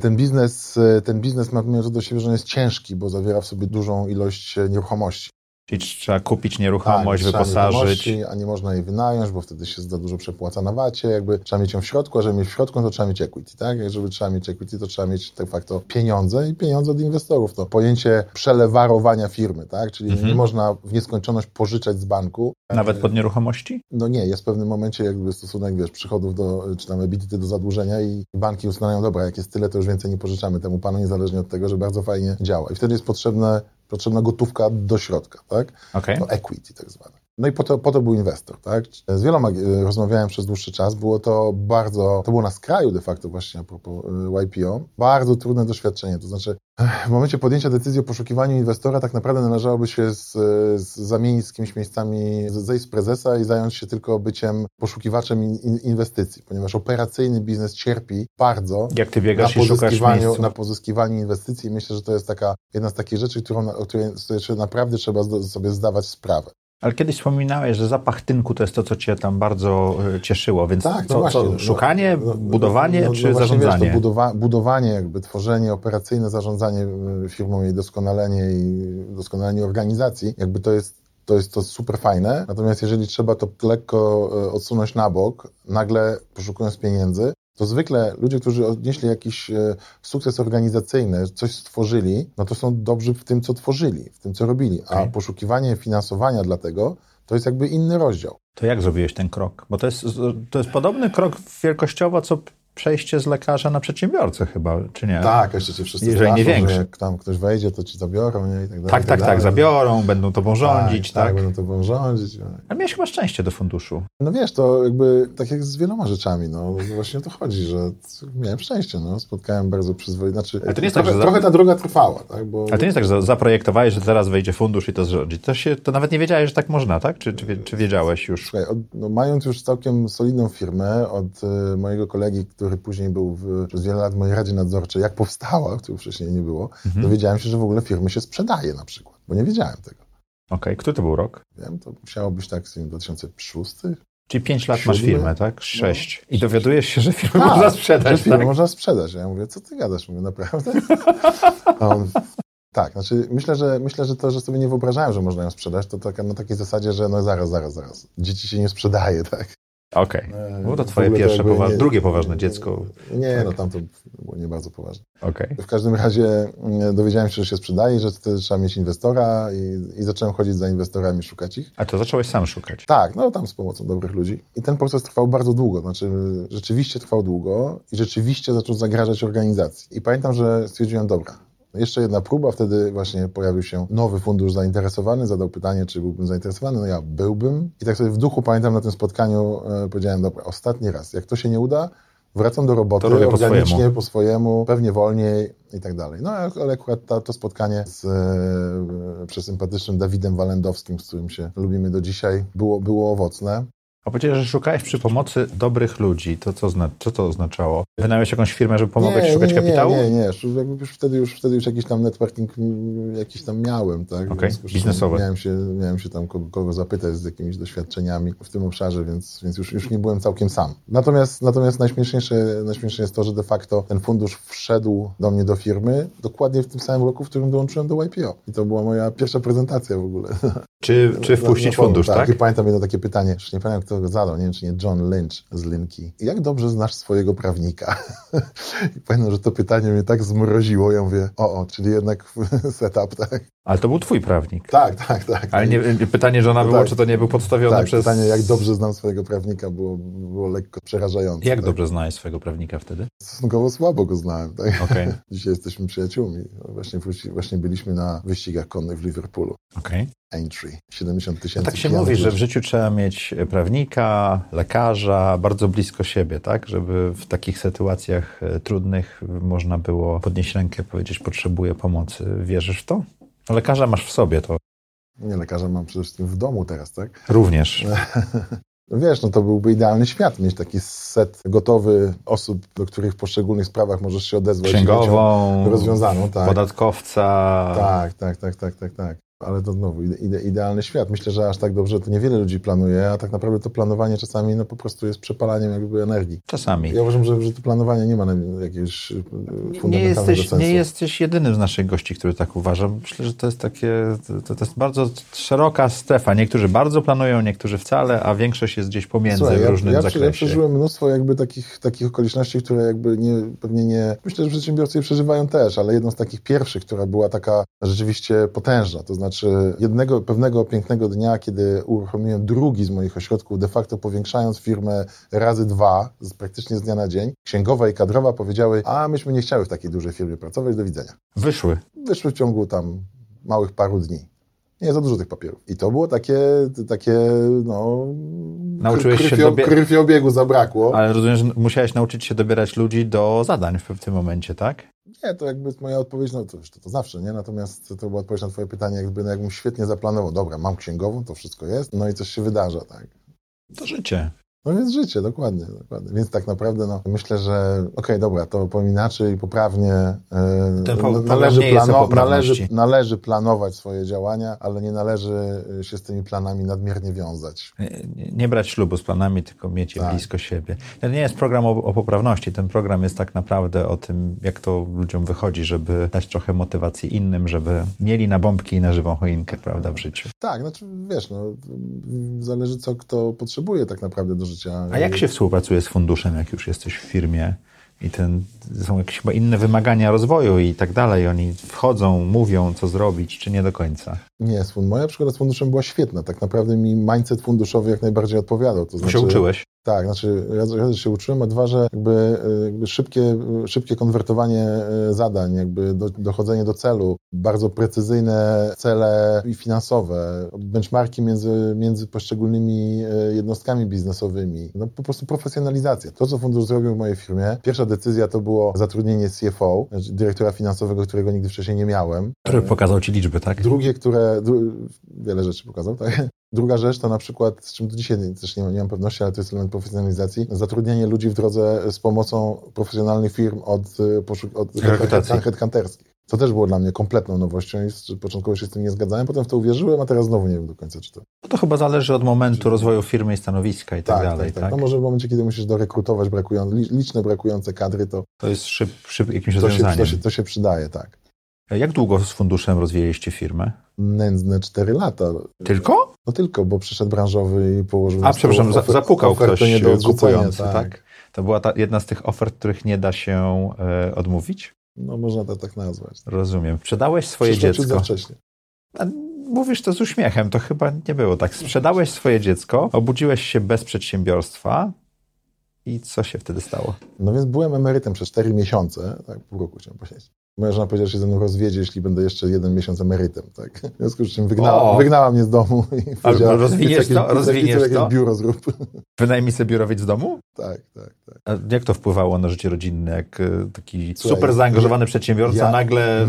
ten biznes, y, ten biznes ma wymiar do siebie, że on jest ciężki, bo zawiera w sobie dużą ilość nieruchomości.
Czyli trzeba kupić nieruchomość,
Tak, trzeba
wyposażyć.
nieruchomości, A nie można jej wynająć, bo wtedy się za dużo przepłaca na wacie. Jakby trzeba mieć ją w środku, a żeby mieć w środku, to trzeba mieć equity, tak? Jak Żeby trzeba mieć equity, to trzeba mieć de facto pieniądze i pieniądze od inwestorów. To pojęcie przelewarowania firmy, tak? Czyli nie można w nieskończoność pożyczać z banku.
Nawet pod nieruchomości?
No nie, jest w pewnym momencie jakby stosunek, wiesz, przychodów do, czy tam EBITDA do zadłużenia i banki ustalają, dobra, jak jest tyle, to już więcej nie pożyczamy temu panu, niezależnie od tego, że bardzo fajnie działa. I wtedy jest potrzebne, potrzebna gotówka do środka, tak?
Okej.
No, equity tak zwane. No i po to, po to był inwestor, tak? Z wieloma e, rozmawiałem przez dłuższy czas, było to bardzo, to było na skraju de facto właśnie a propos e, YPO, bardzo trudne doświadczenie, to znaczy ech, w momencie podjęcia decyzji o poszukiwaniu inwestora tak naprawdę należałoby się z, e, z, zamienić z kimś miejscami, z- zejść z prezesa i zająć się tylko byciem poszukiwaczem in, in, inwestycji, ponieważ operacyjny biznes cierpi bardzo
Jak ty biegasz
na
i szukasz miejsc?
pozyskiwaniu, na pozyskiwaniu inwestycji. Myślę, że to jest taka jedna z takich rzeczy, którą, na- o której z której naprawdę trzeba zda- sobie zdawać sprawę.
Ale kiedyś wspominałeś, że zapach tynku to jest to, co cię tam bardzo e, cieszyło, więc
Tak, no
co,
właśnie,
co,
no,
szukanie,
no, no,
budowanie
no, no
czy
właśnie,
zarządzanie?
Wiesz, to budowa, budowanie, jakby tworzenie, operacyjne zarządzanie y, firmą, jej doskonalenie i doskonalenie organizacji, jakby to jest to jest to super fajne, natomiast jeżeli trzeba to lekko y, odsunąć na bok, nagle poszukując pieniędzy, to zwykle ludzie, którzy odnieśli jakiś y, sukces organizacyjny, coś stworzyli, no to są dobrzy w tym, co tworzyli, w tym, co robili, a
Okej.
poszukiwanie finansowania dla tego, to jest jakby inny rozdział.
To jak zrobiłeś ten krok? Bo to jest, to jest podobny krok wielkościowo, co przejście z lekarza na przedsiębiorcę chyba, czy nie?
Tak, jeszcze cię wszyscy
Jeżeli nie
straszą, że
większy.
Jak tam ktoś wejdzie, to ci zabiorą, nie? I tak dalej.
tak, tak,
i
tak,
dalej.
zabiorą, będą tobą rządzić, tak?
tak? będą to będą rządzić.
Ale miałeś chyba szczęście do funduszu.
No wiesz, to jakby tak jak z wieloma rzeczami, no właśnie o to chodzi, że miałem szczęście, no, spotkałem bardzo przyzwoite, znaczy
Ale to nie jest
trochę,
tak, że za-
trochę ta droga trwała, tak, bo
Ale to nie jest tak, że zaprojektowałeś, że teraz wejdzie fundusz i to zrządzi. To, się, to nawet nie wiedziałeś, że tak można, tak? Czy, czy, wie- czy wiedziałeś już?
Słuchaj, od, no, mając już całkiem solidną firmę od e, mojego kolegi, który później był w, przez wiele lat w mojej radzie nadzorczej, jak powstała, którego wcześniej nie było,
Mhm.
dowiedziałem się, że w ogóle firmy się sprzedaje na przykład, bo nie wiedziałem tego.
Okej, który to był rok?
Wiem, to musiało być tak w 2006,
Czyli 5 lat masz
Siódmy?
firmę, tak? 6. I dowiadujesz się, że firmę
Tak,
można sprzedać,
No. że firmę
tak?
można sprzedać. Ja mówię, co ty gadasz? Mówię, naprawdę? A on, tak, znaczy myślę że, myślę, że to, że sobie nie wyobrażałem, że można ją sprzedać, to taka, na takiej zasadzie, że no zaraz, zaraz, zaraz. Dzieci się nie sprzedaje, tak?
Okej.
E,
Było No to
w
twoje
ogóle
pierwsze,
jakby
powa- drugie poważne dziecko.
Nie,
Tak.
no tam to było nie bardzo poważne.
Okej.
W każdym razie mm, dowiedziałem się, że się sprzedaje, że wtedy trzeba mieć inwestora i, i zacząłem chodzić za inwestorami, szukać ich.
A to zacząłeś sam szukać.
Tak, no tam z pomocą dobrych ludzi. I ten proces trwał bardzo długo, znaczy rzeczywiście trwał długo i rzeczywiście zaczął zagrażać organizacji. I pamiętam, że stwierdziłem, dobra, no jeszcze jedna próba, wtedy właśnie pojawił się nowy fundusz zainteresowany, zadał pytanie, czy byłbym zainteresowany, no ja byłbym. I tak sobie w duchu pamiętam na tym spotkaniu, e, powiedziałem, dobra, ostatni raz, jak to się nie uda, wracam do roboty,
To robię po
organicznie,
swojemu.
po swojemu, pewnie wolniej i tak dalej. No ale akurat ta, to spotkanie z e, przesympatycznym Dawidem Walendowskim, z którym się lubimy do dzisiaj, było, było owocne.
A powiedziałeś, że szukałeś przy pomocy dobrych ludzi. To co, zna- co to oznaczało? Wynająłeś jakąś firmę, żeby pomagać szukać
nie,
kapitału?
Nie, nie, nie. Już, jakby już wtedy, już, wtedy już jakiś tam networking mm, jakiś tam miałem, tak? W
Okej,
związku z czym
biznesowy.
Miałem się, miałem się tam kogo, kogo zapytać z jakimiś doświadczeniami w tym obszarze, więc, więc już, już nie byłem całkiem sam. Natomiast, natomiast najśmieszniejsze, najśmieszniejsze jest to, że de facto ten fundusz wszedł do mnie do firmy dokładnie w tym samym roku, w którym dołączyłem do YPO. I to była moja pierwsza prezentacja w ogóle.
Czy, czy
Na-
wpuścić
na forum,
fundusz, tak?
I pamiętam jedno takie pytanie, już nie pamiętam kto go zadał, nie wiem czy nie John Lynch z Linki. Jak dobrze znasz swojego prawnika? I pamiętam, że to pytanie mnie tak zmroziło, ja mówię, o, o czyli jednak setup, tak?
Ale to był twój prawnik.
Tak, tak, tak.
Ale nie, nie- pytanie żona
No
było,
tak.
czy to nie był podstawiony
tak,
przez...
pytanie, jak dobrze znam swojego prawnika, było, było lekko przerażające.
Jak
tak?
dobrze znałeś swojego prawnika wtedy?
Stosunkowo słabo go znałem, tak?
Okej,
Dzisiaj jesteśmy przyjaciółmi. Właśnie, wróci, właśnie byliśmy na wyścigach konnych w Liverpoolu.
okej.
Entry. 70
No
tysięcy
tak się
kilometrów.
mówi, że w życiu trzeba mieć e, prawnika, lekarza, bardzo blisko siebie, tak? Żeby w takich sytuacjach e, trudnych można było podnieść rękę, powiedzieć, potrzebuję pomocy. Wierzysz w to? No, Lekarza masz w sobie, to
Nie, lekarza mam przede wszystkim w domu teraz, tak?
również.
Wiesz, no to byłby idealny świat, mieć taki set gotowy osób, do których w poszczególnych sprawach możesz się odezwać.
Księgową,
i rozwiązaną, tak.
podatkowca.
Tak, tak, tak, tak, tak, tak. Ale to znowu ide, ide, idealny świat. Myślę, że aż tak dobrze to niewiele ludzi planuje, a tak naprawdę to planowanie czasami no, po prostu jest przepalaniem jakby energii.
Czasami.
Ja uważam, że, że to planowanie nie ma na- jakiegoś y, fundamentalnego
Nie jesteś,
sensu.
nie jesteś jedynym z naszych gości, który tak uważa. Myślę, że to jest takie, to, to jest bardzo szeroka strefa. Niektórzy bardzo planują, niektórzy wcale, a większość jest gdzieś pomiędzy
Słuchaj,
w
ja-
różnym
ja, prze- Ja
zakresie.
przeżyłem mnóstwo jakby takich, takich okoliczności, które jakby nie, pewnie nie... Myślę, że przedsiębiorcy je przeżywają też, ale jedną z takich pierwszych, która była taka rzeczywiście potężna, to znaczy jednego pewnego pięknego dnia, kiedy uruchomiłem drugi z moich ośrodków, de facto powiększając firmę razy dwa, z, praktycznie z dnia na dzień, księgowa i kadrowa powiedziały, a myśmy nie chciały w takiej dużej firmie pracować, do widzenia
Wyszły.
wyszły w ciągu tam małych paru dni. Nie za dużo tych papierów. I to było takie, takie no...
Nauczyłeś się
krwio-
dobie-
Krwiobiegu zabrakło.
Ale rozumiem, że musiałeś nauczyć się dobierać ludzi do zadań w pewnym momencie, tak?
Nie, to jakby moja odpowiedź, no to, wiesz, to, to zawsze, nie? Natomiast to była odpowiedź na twoje pytanie, jakby no, jakbym świetnie zaplanował. Dobra, mam księgową, to wszystko jest, no i coś się wydarza, tak.
To życie.
No więc życie, dokładnie, dokładnie. Więc tak naprawdę no, myślę, że okej, dobra, to powiem inaczej, poprawnie yy,
Ten po-
no,
program nie jest o poprawności.
należy, należy planować swoje działania, ale nie należy y, się z tymi planami nadmiernie wiązać.
Nie- Nie brać ślubu z planami, tylko mieć je
Tak.
blisko siebie. To nie jest program o, o poprawności. Ten program jest tak naprawdę o tym, jak to ludziom wychodzi, żeby dać trochę motywacji innym, żeby mieli na bombki i na żywą choinkę, prawda, w życiu.
Tak, znaczy wiesz, no, y, zależy co kto potrzebuje tak naprawdę do życia. E,
A jak się współpracuje z funduszem, jak już jesteś w firmie i ten, są jakieś chyba inne wymagania rozwoju i tak dalej? Oni wchodzą, mówią, co zrobić, czy nie do końca?
Nie, z fund- moja przygoda z funduszem była świetna. Tak naprawdę mi mindset funduszowy jak najbardziej odpowiadał. To
Bo
znaczy,
się uczyłeś.
Tak, znaczy raz, raz się uczyłem, a dwa, że jakby, e, jakby szybkie, e, szybkie konwertowanie e, zadań, jakby do, dochodzenie do celu, bardzo precyzyjne cele i finansowe, benchmarki między, między poszczególnymi e, jednostkami biznesowymi, no po prostu profesjonalizacja. To, co fundusz zrobił w mojej firmie, pierwsza decyzja to było zatrudnienie CFO, znaczy dyrektora finansowego, którego nigdy wcześniej nie miałem.
Który pokazał ci liczby, tak?
Drugie, które. Dru, wiele rzeczy pokazał, tak. Druga rzecz to na przykład, z czym do dzisiaj nie- też nie, nie mam pewności, ale to jest element profesjonalizacji, zatrudnienie ludzi w drodze z pomocą profesjonalnych firm od, y, poszu- od
Rekrutacji.
head- headhunterskich. To też było dla mnie kompletną nowością i z- początkowo się z tym nie zgadzałem, potem w to uwierzyłem, a teraz znowu nie wiem do końca, czy to.
No to chyba zależy od momentu rozwoju firmy i stanowiska i tak, dalej, tak?
No może w momencie, kiedy musisz dorekrutować brakują, li- liczne brakujące kadry, to,
To jest szyb, szyb jakimś
to, się,
rozwiązaniem.
to, się, to się przydaje, tak.
Jak długo z funduszem rozwijaliście firmę?
Nędzne 4 lata.
Tylko?
No tylko, bo przyszedł branżowy i położył
A
na stół
przepraszam, za,
ofer-
zapukał
ofertę
ktoś
nie do
e,
odrzucenia,
kupujący, tak. To była ta, jedna z tych ofert, których nie da się e, odmówić?
No można to tak nazwać.
Rozumiem. Sprzedałeś swoje
Przyszło ciut za
dziecko.
wcześnie.
A mówisz to z uśmiechem, to chyba nie było tak. Sprzedałeś swoje dziecko, obudziłeś się bez przedsiębiorstwa i co się wtedy stało?
No więc byłem emerytem przez 4 miesiące, tak, pół roku chciałem powiedzieć. Moja żona powiedziała, że się ze mną rozwiedzie, jeśli będę jeszcze jeden miesiąc emerytem, tak. W związku z czym wygnała,
O!
wygnała mnie z domu i powiedziała,
rozwiniesz
idź jakieś,
to?
idź- idź
Rozwiniesz
jakieś
to?
biuro zrób.
Wynajmij sobie biurowiec w domu?
tak, tak, tak.
A jak to wpływało na życie rodzinne, jak e, taki
Słuchaj,
super zaangażowany przedsiębiorca
ja- no.
nagle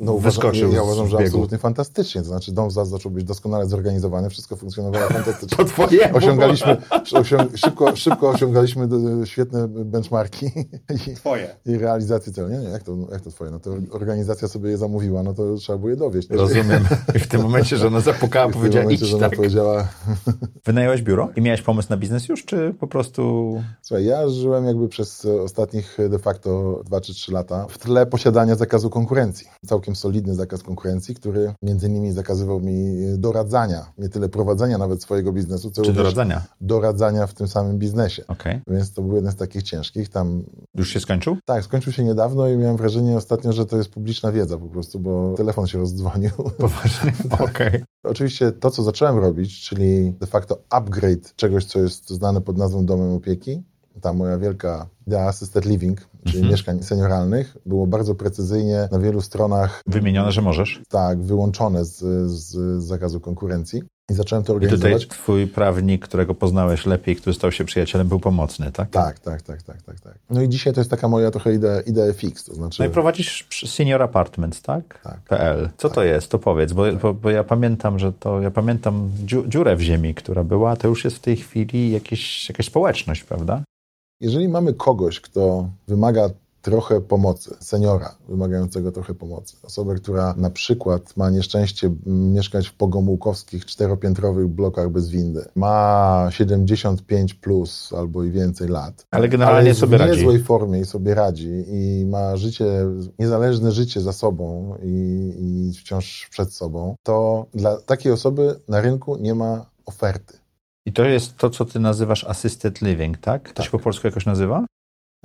uważam-
wyskoczył
ja uważam,
z
że
biegu?
absolutnie fantastycznie. To znaczy dom za- zaczął być doskonale zorganizowany, wszystko funkcjonowało fantastycznie.
Po twojemu.
Osiągaliśmy, osiąg, szybko, szybko osiągaliśmy e, świetne benchmarki i,
Twoje.
i realizację celu. Nie, nie, jak to, jak to twoje? No to organizacja sobie je zamówiła, no to trzeba było je dowieść.
Rozumiem. I w tym momencie, że ona
I
zapukała,
w tym
powiedziała
momencie, że
idź,
ona
tak.
powiedziała,
Wynająłeś biuro i miałeś pomysł na biznes już, czy po prostu...
słuchaj, ja żyłem jakby przez e, ostatnich e, de facto 2 czy 3 lata w tle posiadania zakazu konkurencji. Całkiem solidny zakaz konkurencji, który między innymi zakazywał mi e, doradzania, nie tyle prowadzenia nawet swojego biznesu, co
Czy
również
doradzenia?
doradzania w tym samym biznesie.
Okej.
Więc to był jeden z takich ciężkich. Tam
Już się skończył?
Tak, skończył się niedawno i miałem wrażenie ostatnio, że to jest publiczna wiedza po prostu, bo telefon się rozdzwonił.
Poważnie.
tak.
Okej.
Oczywiście to, co zacząłem robić, czyli de facto upgrade czegoś, co jest znane pod nazwą domem opieki, ta moja wielka idea assisted living, czyli
Mhm.
mieszkań senioralnych, było bardzo precyzyjnie na wielu stronach
Wymienione, że możesz.
tak wyłączone z, z zakazu konkurencji. I zacząłem to
I tutaj
organizować.
twój prawnik, którego poznałeś lepiej, który stał się przyjacielem, był pomocny, tak?
Tak, tak, tak, tak, tak, tak. No i dzisiaj to jest taka moja trochę idea, idea fix, to znaczy...
No i prowadzisz przy- Senior Apartments, tak?
Tak.
PL. Co to jest? To powiedz, bo, bo, bo ja pamiętam, że to, ja pamiętam dziu, dziurę w ziemi, która była, to już jest w tej chwili jakieś, jakaś społeczność, prawda?
Jeżeli mamy kogoś, kto wymaga trochę pomocy, seniora wymagającego trochę pomocy, osobę, która na przykład ma nieszczęście m, mieszkać w pogomułkowskich czteropiętrowych blokach bez windy, ma 75 plus albo i więcej lat,
No, Ale generalnie
jest
sobie
w
radzi.
niezłej formie i sobie radzi i ma życie, niezależne życie za sobą i, i wciąż przed sobą, to dla takiej osoby na rynku nie ma oferty.
I to jest to, co ty nazywasz assisted living, tak? To
Tak.
się po polsku jakoś nazywa?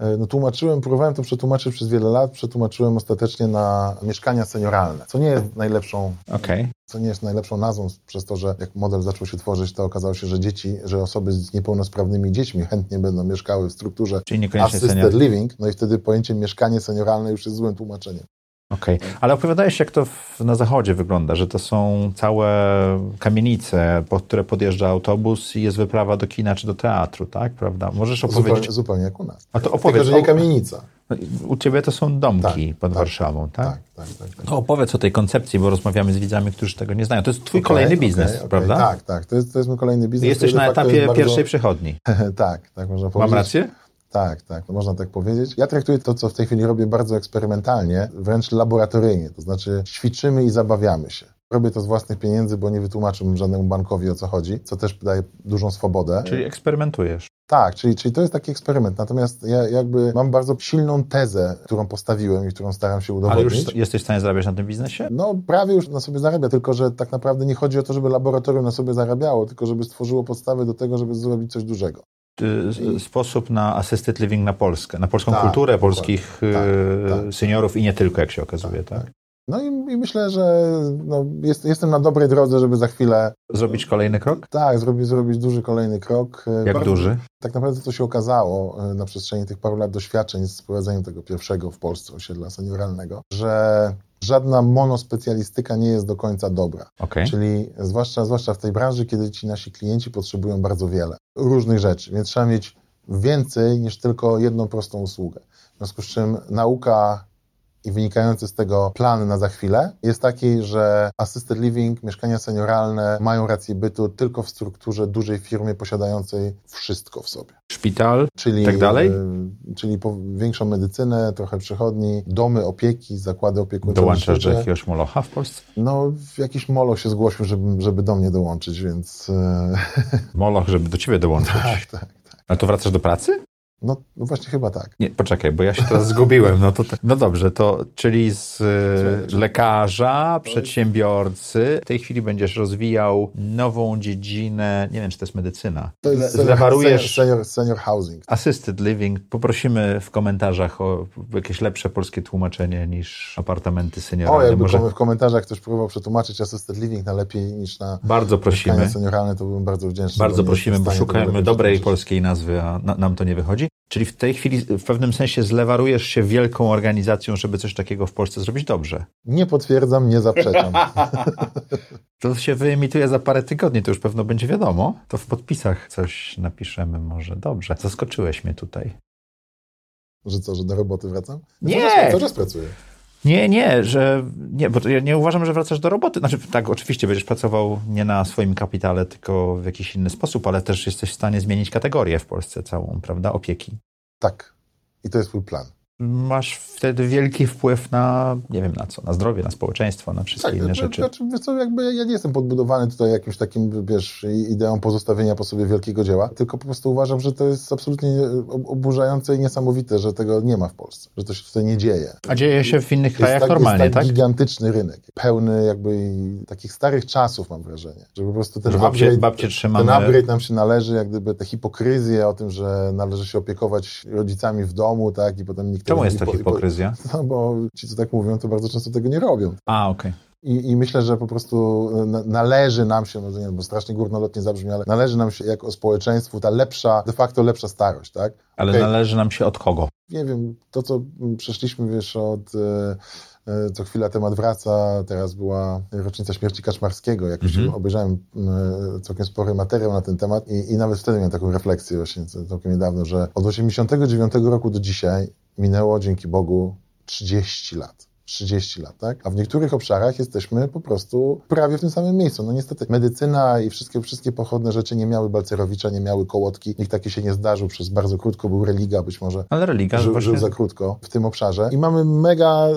E, No, tłumaczyłem, próbowałem to przetłumaczyć przez wiele lat, przetłumaczyłem ostatecznie na mieszkania senioralne, co nie jest najlepszą,
Okej.
co nie jest najlepszą nazwą, s- przez to, że jak model zaczął się tworzyć, to okazało się, że dzieci, że osoby z niepełnosprawnymi dziećmi chętnie będą mieszkały w strukturze
Czyli niekoniecznie senior.
assisted living, no i wtedy pojęcie mieszkanie senioralne już jest złym tłumaczeniem.
Okej, ale opowiadałeś, jak to w, na zachodzie wygląda, że to są całe kamienice, pod które podjeżdża autobus i jest wyprawa do kina czy do teatru, tak? Prawda? Możesz opowiedzieć.
Zupełnie, zupełnie jak u nas.
A to
Tylko,
opowiedz.
że nie
o- no
kamienica.
U ciebie to są domki
Tak,
pod
tak,
Warszawą, tak?
Tak, tak, tak. tak.
To opowiedz o tej koncepcji, bo rozmawiamy z widzami, którzy tego nie znają. To jest twój
Okej,
kolejny
okej,
biznes,
okej.
prawda?
Tak, tak. To jest, to jest mój kolejny biznes.
Jesteś
który
na
de facto
etapie
jest bardzo-
pierwszej przychodni.
tak, tak można powiedzieć.
Mam rację?
Tak, tak, no można tak powiedzieć. Ja traktuję to, co w tej chwili robię, bardzo eksperymentalnie, wręcz laboratoryjnie, to znaczy ćwiczymy i zabawiamy się. Robię to z własnych pieniędzy, bo nie wytłumaczyłbym żadnemu bankowi o co chodzi, co też daje dużą swobodę.
Czyli eksperymentujesz.
Tak, czyli, czyli to jest taki eksperyment. Natomiast ja jakby mam bardzo silną tezę, którą postawiłem i którą staram się
Ale
udowodnić.
już jesteś w stanie zarabiać na tym biznesie?
No, prawie już na sobie zarabia, tylko że tak naprawdę nie chodzi o to, żeby laboratorium na sobie zarabiało, tylko żeby stworzyło podstawy do tego, żeby zrobić coś dużego.
Ty- y, s- Sposób na assisted living na Polskę, na polską
Tak,
kulturę,
dokładnie.
polskich
Tak,
e,
tak.
seniorów i nie tylko, jak się okazuje, tak?
No i, i myślę, że no, jest, jestem na dobrej drodze, żeby za chwilę,
Zrobić kolejny krok?
tak, zrobić, zrobić duży kolejny krok.
Jak duży?
Tak naprawdę to się okazało e, na przestrzeni tych paru lat doświadczeń z prowadzeniem tego pierwszego w Polsce osiedla senioralnego, że żadna monospecjalistyka nie jest do końca dobra.
Okej.
Czyli zwłaszcza, zwłaszcza w tej branży, kiedy ci nasi klienci potrzebują bardzo wiele różnych rzeczy, więc trzeba mieć więcej niż tylko jedną prostą usługę. W związku z czym nauka i wynikający z tego plan na za chwilę jest taki, że assisted living, mieszkania senioralne mają rację bytu tylko w strukturze dużej firmy posiadającej wszystko w sobie.
Szpital,
Czyli,
Tak dalej?
y, czyli po, większą medycynę, trochę przychodni, domy opieki, zakłady opiekuńcze.
dołączasz do
lecznicze.
jakiegoś molocha w Polsce?
No, jakiś molo się zgłosił, żeby, żeby do mnie dołączyć, więc. e,
Moloch, żeby do ciebie dołączyć.
tak, tak.
Ale to wracasz do pracy?
No, no właśnie, chyba tak.
Nie, poczekaj, bo ja się teraz zgubiłem. No, to te... no dobrze, to czyli z e, lekarza, przedsiębiorcy. W tej chwili będziesz rozwijał nową dziedzinę, nie wiem, czy to jest medycyna.
To jest
Le- lewarujesz-
senior, senior housing.
Assisted living. Poprosimy w komentarzach o jakieś lepsze polskie tłumaczenie niż apartamenty
O,
senioralne.
jakby
Może
kom- w komentarzach ktoś próbował przetłumaczyć assisted living na lepiej niż na
bardzo prosimy.
mieszkania senioralne, to byłem bardzo wdzięczny.
Bardzo
nie
prosimy,
jestem w
bo
stanie tego
szukamy
lepiej
dobrej
przetłumaczyć.
polskiej nazwy, a na, nam to nie wychodzi. Czyli w tej chwili w pewnym sensie zlewarujesz się wielką organizacją, żeby coś takiego w Polsce zrobić dobrze.
Nie potwierdzam, nie zaprzeczam.
To się wyemituje za parę tygodni, to już pewno będzie wiadomo. To w podpisach coś napiszemy może. Dobrze, zaskoczyłeś mnie tutaj.
że co, że do roboty wracam?
Nie!
Cały czas, cały czas pracuję.
Nie, nie, że nie, bo to ja nie uważam, że wracasz do roboty. Znaczy, tak, oczywiście będziesz pracował nie na swoim kapitale, tylko w jakiś inny sposób, ale też jesteś w stanie zmienić kategorię w Polsce całą, prawda? Opieki.
Tak. I to jest mój plan.
masz wtedy wielki wpływ na, nie wiem na co, na zdrowie, na społeczeństwo, na wszystkie
Tak,
inne
to-
rzeczy.
Znaczy, wiesz co, jakby ja- ja nie jestem podbudowany tutaj jakimś takim, wiesz, i- ideą pozostawienia po sobie wielkiego dzieła, tylko po prostu uważam, że to jest absolutnie ob- oburzające i niesamowite, że tego nie ma w Polsce, że to się tutaj nie dzieje.
A dzieje się w innych
Jest
krajach
tak,
Tak normalnie,
jest tak
tak?
gigantyczny rynek, pełny jakby i takich starych czasów, mam wrażenie, że po prostu ten
Że babcie,
upgrade,
babcie
ten
trzymamy.
upgrade nam się należy, jak gdyby te hipokryzje o tym, że należy się opiekować rodzicami w domu, tak, i potem nikt
Czemu
tego
jest
nie
to
po- i po-
hipokryzja?
No bo ci, co tak mówią, to bardzo często tego nie robią.
A, okej.
I, I myślę, że po prostu e, na- należy nam się, no nie, bo strasznie górnolotnie zabrzmi, ale należy nam się jako społeczeństwu ta lepsza, de facto lepsza starość, tak?
Ale
Okej.
należy nam się od kogo?
Nie wiem, to co mm, przeszliśmy, wiesz, od e, co chwila temat wraca. Teraz była rocznica śmierci Kaczmarskiego. Jakoś
Mhm.
obejrzałem e, całkiem spory materiał na ten temat i, i nawet wtedy miałem taką refleksję właśnie c- całkiem niedawno, że od 89 roku do dzisiaj minęło, dzięki Bogu, 30 lat. 30 lat, tak? A w niektórych obszarach jesteśmy po prostu prawie w tym samym miejscu. No niestety medycyna i wszystkie, wszystkie pochodne rzeczy nie miały Balcerowicza, nie miały Kołotki. Nikt taki się nie zdarzył przez bardzo krótko. Był religa być może
Ale religia
żył,
właśnie...
żył za krótko w tym obszarze i mamy mega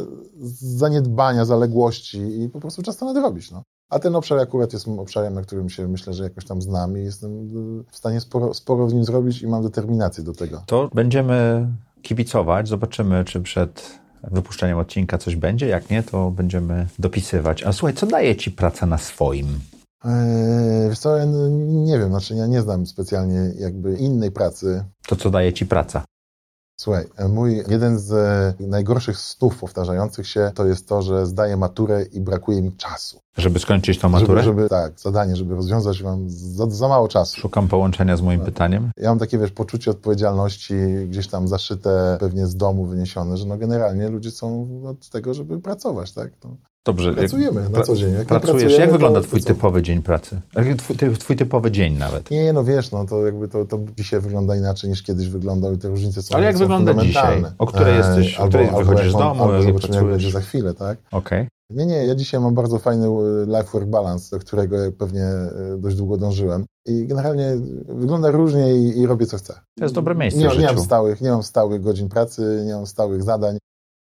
zaniedbania, zaległości i po prostu czas to nadrobić. No. A ten obszar akurat jest obszarem, na którym się myślę, że jakoś tam znam i jestem y, w stanie sporo, sporo w nim zrobić i mam determinację do tego.
To będziemy kibicować, zobaczymy, czy przed wypuszczeniem odcinka coś będzie. Jak nie, to będziemy dopisywać. A słuchaj, co daje ci praca na swoim?
Yy, wiesz co, ja n- nie wiem, znaczy ja nie znam specjalnie jakby innej pracy.
To, co daje ci praca?
Słuchaj, e, mój jeden z e, najgorszych snów powtarzających się to jest to, że zdaję maturę i brakuje mi czasu.
Żeby skończyć tą maturę?
Żeby, żeby, tak, zadanie, żeby rozwiązać mam za, za mało czasu.
Szukam połączenia z
Tak.
moim pytaniem.
Ja mam takie, wiesz, poczucie odpowiedzialności gdzieś tam zaszyte, pewnie z domu wyniesione, że no generalnie ludzie są od tego, żeby pracować, tak? No,
Dobrze. jak-
pracujemy na
pra-
co dzień. Jak nie
Pracujesz.
pracujemy,
Jak
to-
wygląda
to
twój
co?
typowy dzień pracy? Jak Twój, ty- twój typowy dzień nawet.
Nie, no wiesz, no to jakby to, to dzisiaj wygląda inaczej niż kiedyś wyglądał i te różnice są
Ale jak
są
wygląda
fundamentalne.
dzisiaj? O której jesteś- o której wychodzisz
jak
z domu, jak
Albo zobaczymy, jak
pracujesz?
będzie za chwilę, tak?
Okej.
Nie, nie, ja dzisiaj mam bardzo fajny e, life-work balance, do którego pewnie e, dość długo dążyłem. I generalnie wygląda różnie i, i robię co chcę.
To jest dobre miejsce
Nie,
w
nie, mam
życiu.
stałych, nie mam stałych godzin pracy, nie mam stałych zadań.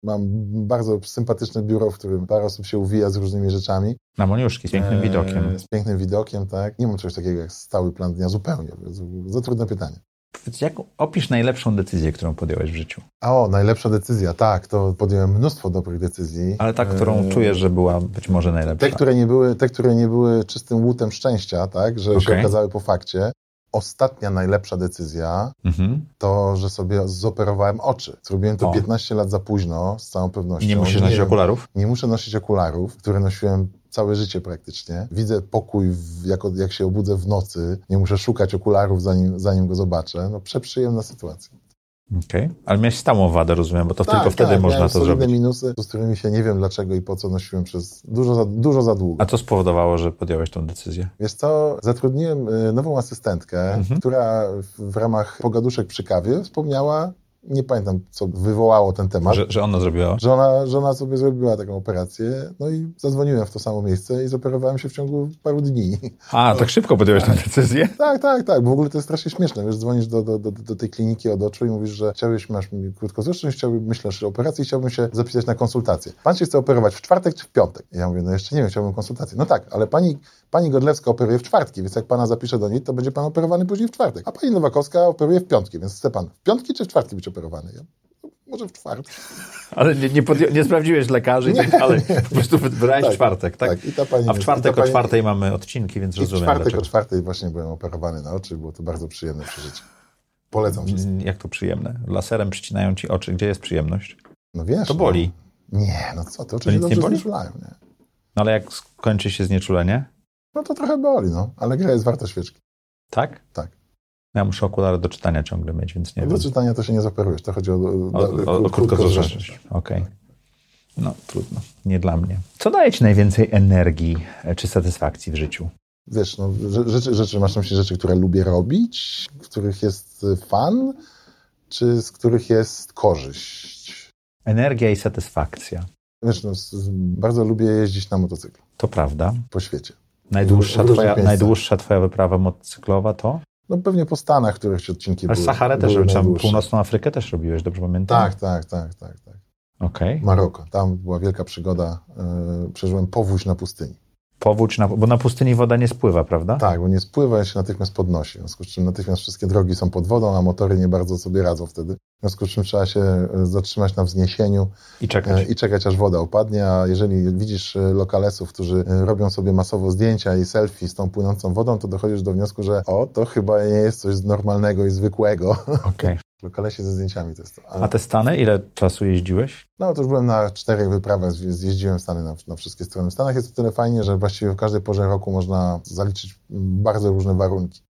Mam bardzo sympatyczne biuro, w którym parę osób się uwija z różnymi rzeczami.
Na Moniuszki, z pięknym
Eee,
widokiem.
Z pięknym widokiem, tak. Nie mam czegoś takiego jak stały plan dnia zupełnie. Z- Za trudne pytanie.
Powiedz, Jak opisz najlepszą decyzję, którą podjąłeś w życiu?
A o, najlepsza decyzja, tak, to podjąłem mnóstwo dobrych decyzji.
Ale ta, którą
Eee, Tak
czujesz, że była być może najlepsza.
Te które, nie były, te, które nie były czystym łutem szczęścia, tak, że się
Okej.
okazały po fakcie. Ostatnia najlepsza decyzja
Mhm.
to, że sobie zoperowałem oczy. Zrobiłem to
O.
15 lat za późno, z całą
I
pewnością.
nie musisz nosić
wiem,
okularów?
Nie muszę nosić okularów, które nosiłem całe życie praktycznie. Widzę pokój, w, jak, od- jak się obudzę w nocy. Nie muszę szukać okularów, zanim, zanim go zobaczę. No, przeprzyjemna sytuacja.
Okej. Ale miałeś stałą wadę, rozumiem, bo to tylko wtedy można
Tak, miałem
to
solidne
zrobić.
minusy, z którymi się nie wiem dlaczego i po co nosiłem przez dużo za, dużo za długo.
A co spowodowało, że podjąłeś tą decyzję?
Wiesz co, zatrudniłem y, nową asystentkę,
Mhm.
która w- w ramach pogaduszek przy kawie wspomniała, nie pamiętam co wywołało ten temat,
Że, że ona zrobiła?
Żona, żona sobie zrobiła taką operację, no i zadzwoniłem w to samo miejsce i zoperowałem się w ciągu paru dni.
A, tak szybko podjąłeś tę decyzję?
No. tak, tak, tak, bo w ogóle to jest strasznie śmieszne, wiesz, dzwonisz do, do, do, do tej kliniki od oczu i mówisz, że chciałbyś, masz mi krótkowzroczność, chciałbym, myślisz o operacji i chciałbym się zapisać na konsultację. Pan się chce operować w czwartek czy w piątek? I Ja mówię, no jeszcze nie wiem, chciałbym konsultację. No tak, ale pani, pani Godlewska operuje w czwartki, więc jak pana zapiszę do niej, to będzie pan operowany później w czwartek. A pani Nowakowska operuje w piątki, więc chce pan w piątki czy w czwartki być operowany? Ja, no, może w czwartek.
Ale nie, nie, podją- nie sprawdziłeś lekarzy i tak dalej. Po prostu wybrałeś
Tak,
czwartek, tak?
tak. I ta pani
A w
jest-
czwartek
i ta
o
pani-
czwartej mamy odcinki, więc
I w
rozumiem
czwartek o
dlaczego.
czwartej właśnie byłem operowany na oczy, było to bardzo przyjemne przeżycie. Polecam wszystkim.
Mm, Jak to przyjemne? Laserem przycinają ci oczy. Gdzie jest przyjemność?
No wiesz.
Mm. To boli.
No. Nie, no co, to
nic
oczywiście
nie
dobrze
boli?
znieczulałem, nie?
No ale jak skończy się znieczulenie?
No to trochę boli, no. Ale gra jest warta świeczki.
Tak?
Tak.
Ja muszę okulary do czytania ciągle mieć, więc nie
do
wiem.
czytania to się nie zaoperujesz, to chodzi o,
O, o, o krótkowzroczność. Okej. No trudno, nie dla mnie. Co daje ci najwięcej energii e, czy satysfakcji w życiu?
Wiesz, no, rze- rzeczy, rzeczy, masz na myśli rzeczy, które lubię robić, w których jest y, fan, czy z których jest korzyść?
Energia i satysfakcja.
Wiesz, no, z, z, bardzo lubię jeździć na motocyklu
To prawda.
po świecie.
Najdłuższa
Różne
twoja,
miejsca.
najdłuższa twoja wyprawa motocyklowa to?
No pewnie po Stanach, których ci odcinki
Ale
były.
Saharę też,
były
robisz, tam
najdłuższe.
Północną Afrykę też robiłeś, dobrze pamiętam?
Tak, tak, tak, tak, tak.
Okej.
Maroko. Tam była wielka przygoda. Yy, przeżyłem powódź na pustyni.
Powódź, na, bo na pustyni woda nie spływa, prawda?
Tak, bo nie spływa i się natychmiast podnosi. W związku z czym natychmiast wszystkie drogi są pod wodą, a motory nie bardzo sobie radzą wtedy. W związku z czym trzeba się e, zatrzymać na wzniesieniu
I
e,
czekać.
i czekać, aż woda opadnie. A jeżeli widzisz e, lokalesów, którzy e, robią sobie masowo zdjęcia i selfie z tą płynącą wodą, to dochodzisz do wniosku, że o, to chyba nie jest coś normalnego i zwykłego.
Okej.
Lokalesi ze zdjęciami to jest to.
A te Stany, ile czasu jeździłeś?
No, to już byłem na czterech wyprawach, zje- zjeździłem Stany na, na wszystkie strony. W Stanach jest o tyle fajnie, że właściwie w każdej porze roku można zaliczyć bardzo różne warunki.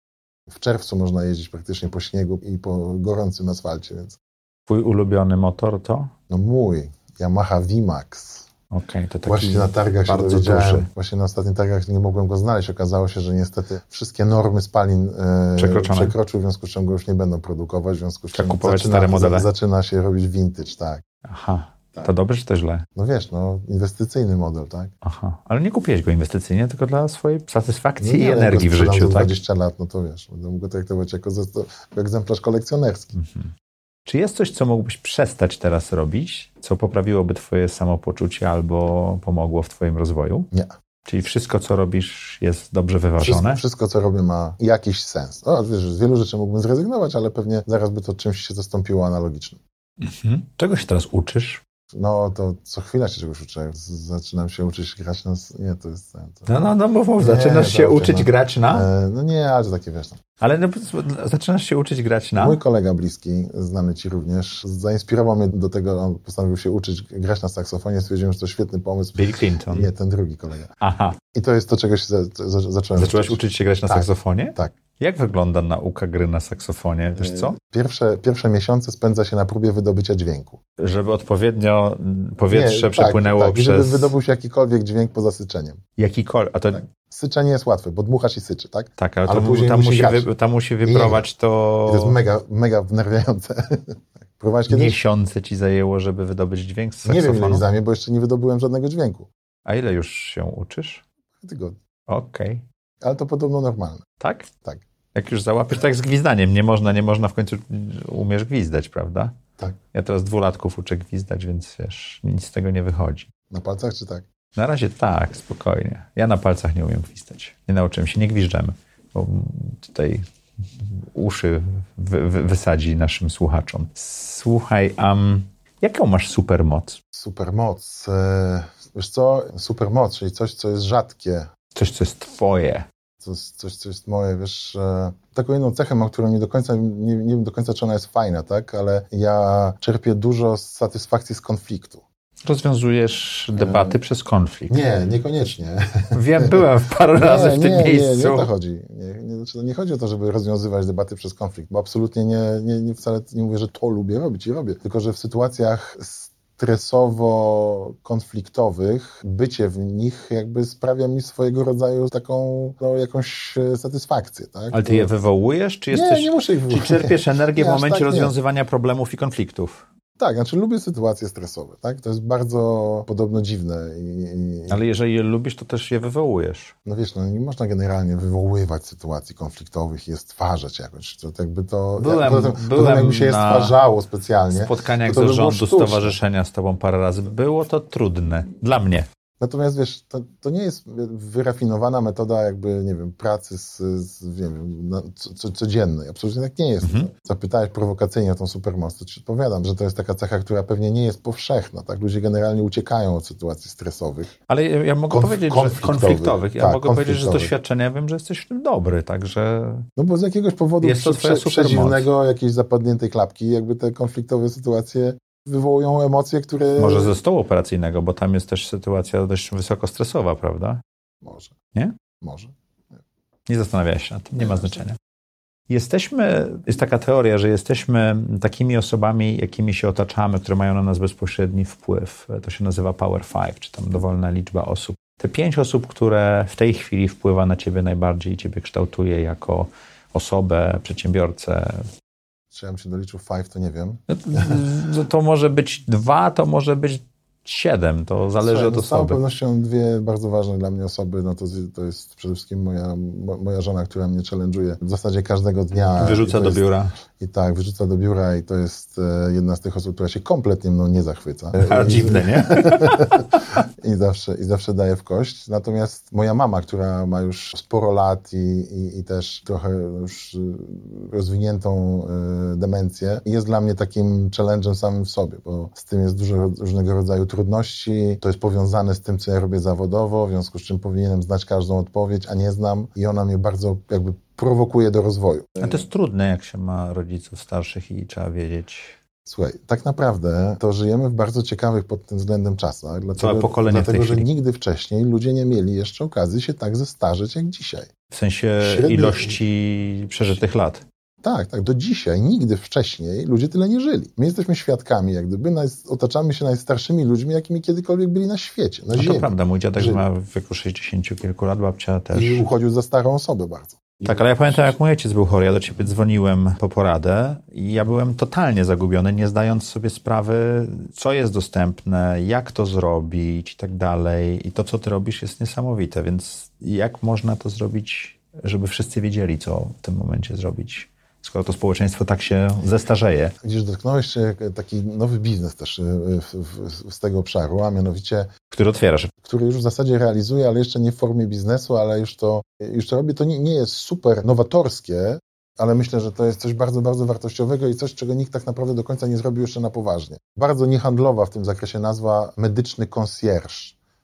W czerwcu można jeździć praktycznie po śniegu i po gorącym asfalcie, więc
Twój ulubiony motor to?
no mój Yamaha VMAX.
Okej, to taki
Właśnie na targach się
bardzo
dowiedziałem.
duży.
Właśnie na ostatnich targach nie mogłem go znaleźć. Okazało się, że niestety wszystkie normy spalin e,
Przekroczone.
przekroczył, w związku z czym go już nie będą produkować, w związku z
Trzeba
czym
kupować stare modele.
zaczyna się robić vintage, tak.
Aha, to dobrze czy to źle?
No wiesz, no inwestycyjny model, tak?
Aha, ale nie kupiłeś go inwestycyjnie, tylko dla swojej satysfakcji
No nie,
i
ale jak
energii w
go sprzedam
życiu,
za
tak?
20 lat, no to wiesz, będę mógł go traktować jako za- jako egzemplarz kolekcjonerski.
Czy jest coś, co mógłbyś przestać teraz robić, co poprawiłoby twoje samopoczucie albo pomogło w twoim rozwoju?
Nie.
Czyli wszystko, co robisz, jest dobrze
Wszystko,
wyważone?
wszystko, co robię, ma jakiś sens. O, wiesz, z wielu rzeczy mógłbym zrezygnować, ale pewnie zaraz by to czymś się zastąpiło analogicznym.
Mhm. Czego się teraz uczysz?
No to co chwila się czegoś uczę. Z- Zaczynam się uczyć grać na... s- Nie, to jest... To...
No, no, no, mów, mów,
Nie,
zaczynasz się
dobrze,
uczyć
no.
grać na...
E, no nie, ale to takie wiesz. tam.
Ale no, z- zaczynasz się uczyć grać na...
Mój kolega bliski, znany ci również, zainspirował mnie do tego, on postanowił się uczyć grać na saksofonie, stwierdziłem, że to świetny pomysł.
Bill Clinton.
Nie, ten drugi kolega.
Aha,
I to jest to, czego się za, za, zacząłem
zacząłeś uczyć się grać na
Tak.
saksofonie?
Tak. E,
Jak wygląda nauka gry na saksofonie? Wiesz co?
Pierwsze, pierwsze miesiące spędza się na próbie wydobycia dźwięku.
Żeby odpowiednio mm, powietrze
Nie,
przepłynęło
tak, tak,
przez
Żeby wydobył się jakikolwiek dźwięk poza syczeniem.
jakikolwiek... A to
Syczenie jest łatwe, bo dmuchasz i syczy, tak?
Tak, ale,
Ale
to,
później
tam,
musi
musi
grać.
wy, tam musi wybrować
I to jest
to.
mega, mega wnerwiające. Próbowałeś kiedyś?
Miesiące ci zajęło, żeby wydobyć dźwięk z
Nie, wiem, ile mi
saksofonu.
zajmie, bo jeszcze nie wydobyłem żadnego dźwięku.
A ile już się uczysz?
Tygodni.
Okej.
Ale to podobno normalne.
Tak?
Tak.
Jak już załapiesz, tak jak z gwizdaniem. Nie można, nie można w końcu umiesz gwizdać, prawda?
Tak.
Ja teraz dwulatków uczę gwizdać, więc wiesz, nic z tego nie wychodzi.
Na palcach czy tak?
Na razie tak, spokojnie. Ja na palcach nie umiem gwizdać. Nie nauczyłem się, nie gwizdżemy, bo tutaj uszy wy, wy, wysadzi naszym słuchaczom. Słuchaj, um, jaką masz supermoc?
Supermoc. e, Wiesz co? Supermoc, czyli coś, co jest rzadkie.
Coś, co jest twoje.
Coś, coś, co jest moje, wiesz, e, taką jedną cechę mam, którą nie do końca, nie, nie wiem do końca, czy ona jest fajna, tak? Ale ja czerpię dużo satysfakcji z konfliktu.
Rozwiązujesz debaty przez konflikt.
Nie, niekoniecznie.
Wiem, byłem parę razy w
nie,
tym
nie,
miejscu.
Nie, nie o to chodzi. Nie, nie, znaczy, nie chodzi o to, żeby rozwiązywać debaty przez konflikt, bo absolutnie nie, nie, nie wcale nie mówię, że to lubię robić i robię, tylko że w sytuacjach stresowo-konfliktowych bycie w nich jakby sprawia mi swojego rodzaju taką, no, jakąś e, satysfakcję, tak?
Ale ty je wywołujesz, czy jesteś...
Nie, nie muszę ich
Czy
wywoływać.
czerpiesz energię
Nie,
w
aż
momencie
tak nie.
rozwiązywania problemów i konfliktów?
Tak, znaczy lubię sytuacje stresowe, tak? To jest bardzo podobno dziwne i, i
Ale jeżeli je lubisz, to też je wywołujesz.
No wiesz, no nie można generalnie wywoływać sytuacji konfliktowych i je stwarzać jakoś. To tak jakby to,
Byłem-
jak, potem,
byłem
potem jakby się je
na
stwarzało specjalnie.
spotkaniach
to to by było
zarządu
sztuczne.
stowarzyszenia z tobą parę razy. Było to trudne. Dla mnie.
Natomiast wiesz, to, to nie jest wyrafinowana metoda jakby, nie wiem, pracy z, z nie wiem, na, co, co, codziennej. Absolutnie tak nie jest.
Mhm.
Zapytałeś prowokacyjnie o tą supermoc, to ci odpowiadam, że to jest taka cecha, która pewnie nie jest powszechna. Tak? Ludzie generalnie uciekają od sytuacji stresowych.
Ale ja, ja mogę
Konf-
powiedzieć, że
konfliktowych.
konfliktowych. Ja
Tak,
mogę powiedzieć, że z
konfliktowych.
doświadczenia wiem, że jesteś w tym dobry, także
No bo z jakiegoś powodu
Jest to
prze,
twoja
prze,
supermoc.
przedziwnego, jakiejś zapadniętej klapki, jakby te konfliktowe sytuacje wywołują emocje, które...
może ze stołu operacyjnego, bo tam jest też sytuacja dość wysoko stresowa, prawda?
Może.
Nie?
Może.
Nie zastanawiałeś się nad tym, nie ma znaczenia. Jesteśmy, jest taka teoria, że jesteśmy takimi osobami, jakimi się otaczamy, które mają na nas bezpośredni wpływ. To się nazywa Power Five, czy tam dowolna liczba osób. Te pięć osób, które w tej chwili wpływa na ciebie najbardziej i ciebie kształtuje jako osobę, przedsiębiorcę.
Czy ja bym się doliczył five, to nie wiem.
No to, no to może być dwa, to może być siedem, to zależy
Słuchaj,
od
no Z całą
osoby.
pewnością dwie bardzo ważne dla mnie osoby, no to, z- to jest przede wszystkim moja, mo, moja żona, która mnie challenge'uje w zasadzie każdego dnia.
Wyrzuca
I to
do
jest-
biura.
I tak, wyrzuca do biura i to jest e, jedna z tych osób, która się kompletnie mną nie zachwyca.
A,
I-
dziwne, nie?
I zawsze, I zawsze daje w kość. Natomiast moja mama, która ma już sporo lat i, i, i też trochę już y, rozwiniętą y, demencję, jest dla mnie takim challenge'em samym w sobie, bo z tym jest dużo ro- różnego rodzaju trudności. To jest powiązane z tym, co ja robię zawodowo, w związku z czym powinienem znać każdą odpowiedź, a nie znam. I ona mnie bardzo jakby prowokuje do rozwoju.
A to jest trudne, jak się ma rodziców starszych i trzeba wiedzieć...
Słuchaj, tak naprawdę to żyjemy w bardzo ciekawych pod tym względem czasach, dlatego,
pokolenie w tej
dlatego że
chwili.
nigdy wcześniej ludzie nie mieli jeszcze okazji się tak zestarzeć jak dzisiaj.
W sensie
Średniej-
ilości przeżytych lat.
Tak, tak. Do dzisiaj nigdy wcześniej ludzie tyle nie żyli. My jesteśmy świadkami, jak gdyby naj, otaczamy się najstarszymi ludźmi, jakimi kiedykolwiek byli na świecie, na
No
Ziemi.
to prawda, mój dziadek
Żyli.
ma w wieku 60 kilku lat, babcia też.
I uchodził za starą osobę bardzo.
Tak, ale ja pamiętam, jak mój ojciec był chory, ja do ciebie dzwoniłem po poradę i ja byłem totalnie zagubiony, nie zdając sobie sprawy, co jest dostępne, jak to zrobić i tak dalej. I to, co ty robisz, jest niesamowite, więc jak można to zrobić, żeby wszyscy wiedzieli, co w tym momencie zrobić, skoro to społeczeństwo tak się zestarzeje.
Widzisz, dotknąłeś się e, taki nowy biznes też y, y, w, w, z tego obszaru, a mianowicie
Który otwierasz?
który już w zasadzie realizuje, ale jeszcze nie w formie biznesu, ale już to, już to robi. To nie, nie jest super nowatorskie, ale myślę, że to jest coś bardzo, bardzo wartościowego i coś, czego nikt tak naprawdę do końca nie zrobił jeszcze na poważnie. Bardzo niehandlowa w tym zakresie nazwa medyczny concierge,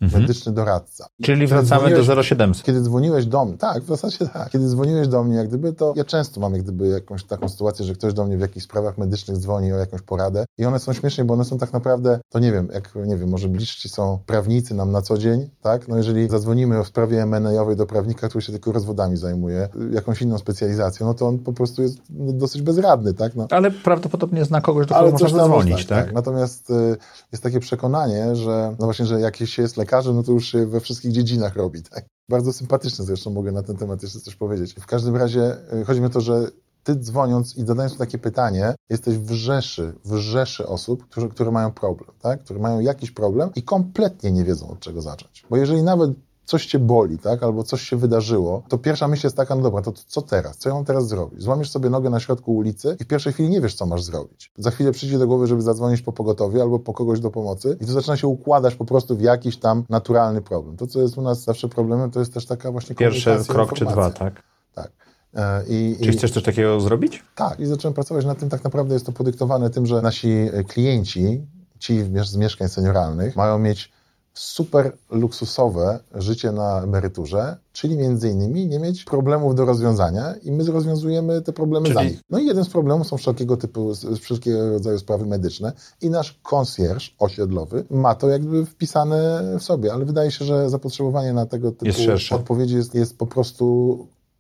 Mhm.
medyczny doradca.
Czyli wracamy
Dzwoniłeś-
do 0700.
Kiedy dzwoniłeś do mnie, tak, w zasadzie tak. Kiedy dzwoniłeś do mnie, jak gdyby to ja często mam jak gdyby jakąś taką sytuację, że ktoś do mnie w jakichś sprawach medycznych dzwoni o jakąś poradę i one są śmieszne, bo one są tak naprawdę, to nie wiem, jak nie wiem, może bliżsi są prawnicy nam na co dzień, tak? No jeżeli zadzwonimy w sprawie M&A-owej do prawnika, który się tylko rozwodami zajmuje, y, jakąś inną specjalizacją, no to on po prostu jest no, dosyć bezradny, tak? No,
Ale prawdopodobnie zna kogoś, do kogo można
coś tam
zadzwonić,
uznać,
tak?
Natomiast y, jest takie przekonanie, że no właśnie, że jak się jest lekarzem, no to już się we wszystkich dziedzinach robi, tak? Bardzo sympatyczne zresztą mogę na ten temat jeszcze coś powiedzieć. W każdym razie y, chodzi mi o to, że ty dzwoniąc i zadając takie pytanie, jesteś w rzeszy, w rzeszy osób, którzy, które mają problem, tak? Które mają jakiś problem i kompletnie nie wiedzą od czego zacząć. Bo jeżeli nawet coś cię boli, tak? Albo coś się wydarzyło, to pierwsza myśl jest taka, no dobra, to co teraz? Co ja mam teraz zrobić? Złamiesz sobie nogę na środku ulicy i w pierwszej chwili nie wiesz, co masz zrobić. Za chwilę przyjdzie do głowy, żeby zadzwonić po pogotowie albo po kogoś do pomocy i to zaczyna się układać po prostu w jakiś tam naturalny problem. To, co jest u nas zawsze problemem, to jest też taka właśnie
Pierwszy
komunikacja,
krok czy dwa,
informacja.
tak?
Tak. E, I,
Czy
i,
chcesz coś takiego zrobić?
tak, i zacząłem pracować nad tym. Tak naprawdę jest to podyktowane tym, że nasi e, klienci, ci w miesz- z mieszkań senioralnych, mają mieć super luksusowe życie na emeryturze, czyli między innymi nie mieć problemów do rozwiązania i my rozwiązujemy te problemy za
Czyli-
nich. No i jeden z problemów są wszelkiego typu, z- z wszelkiego rodzaju sprawy medyczne i nasz konsjerż osiedlowy ma to jakby wpisane w sobie, ale wydaje się, że zapotrzebowanie na tego typu
Jest szersze.
odpowiedzi jest, jest po prostu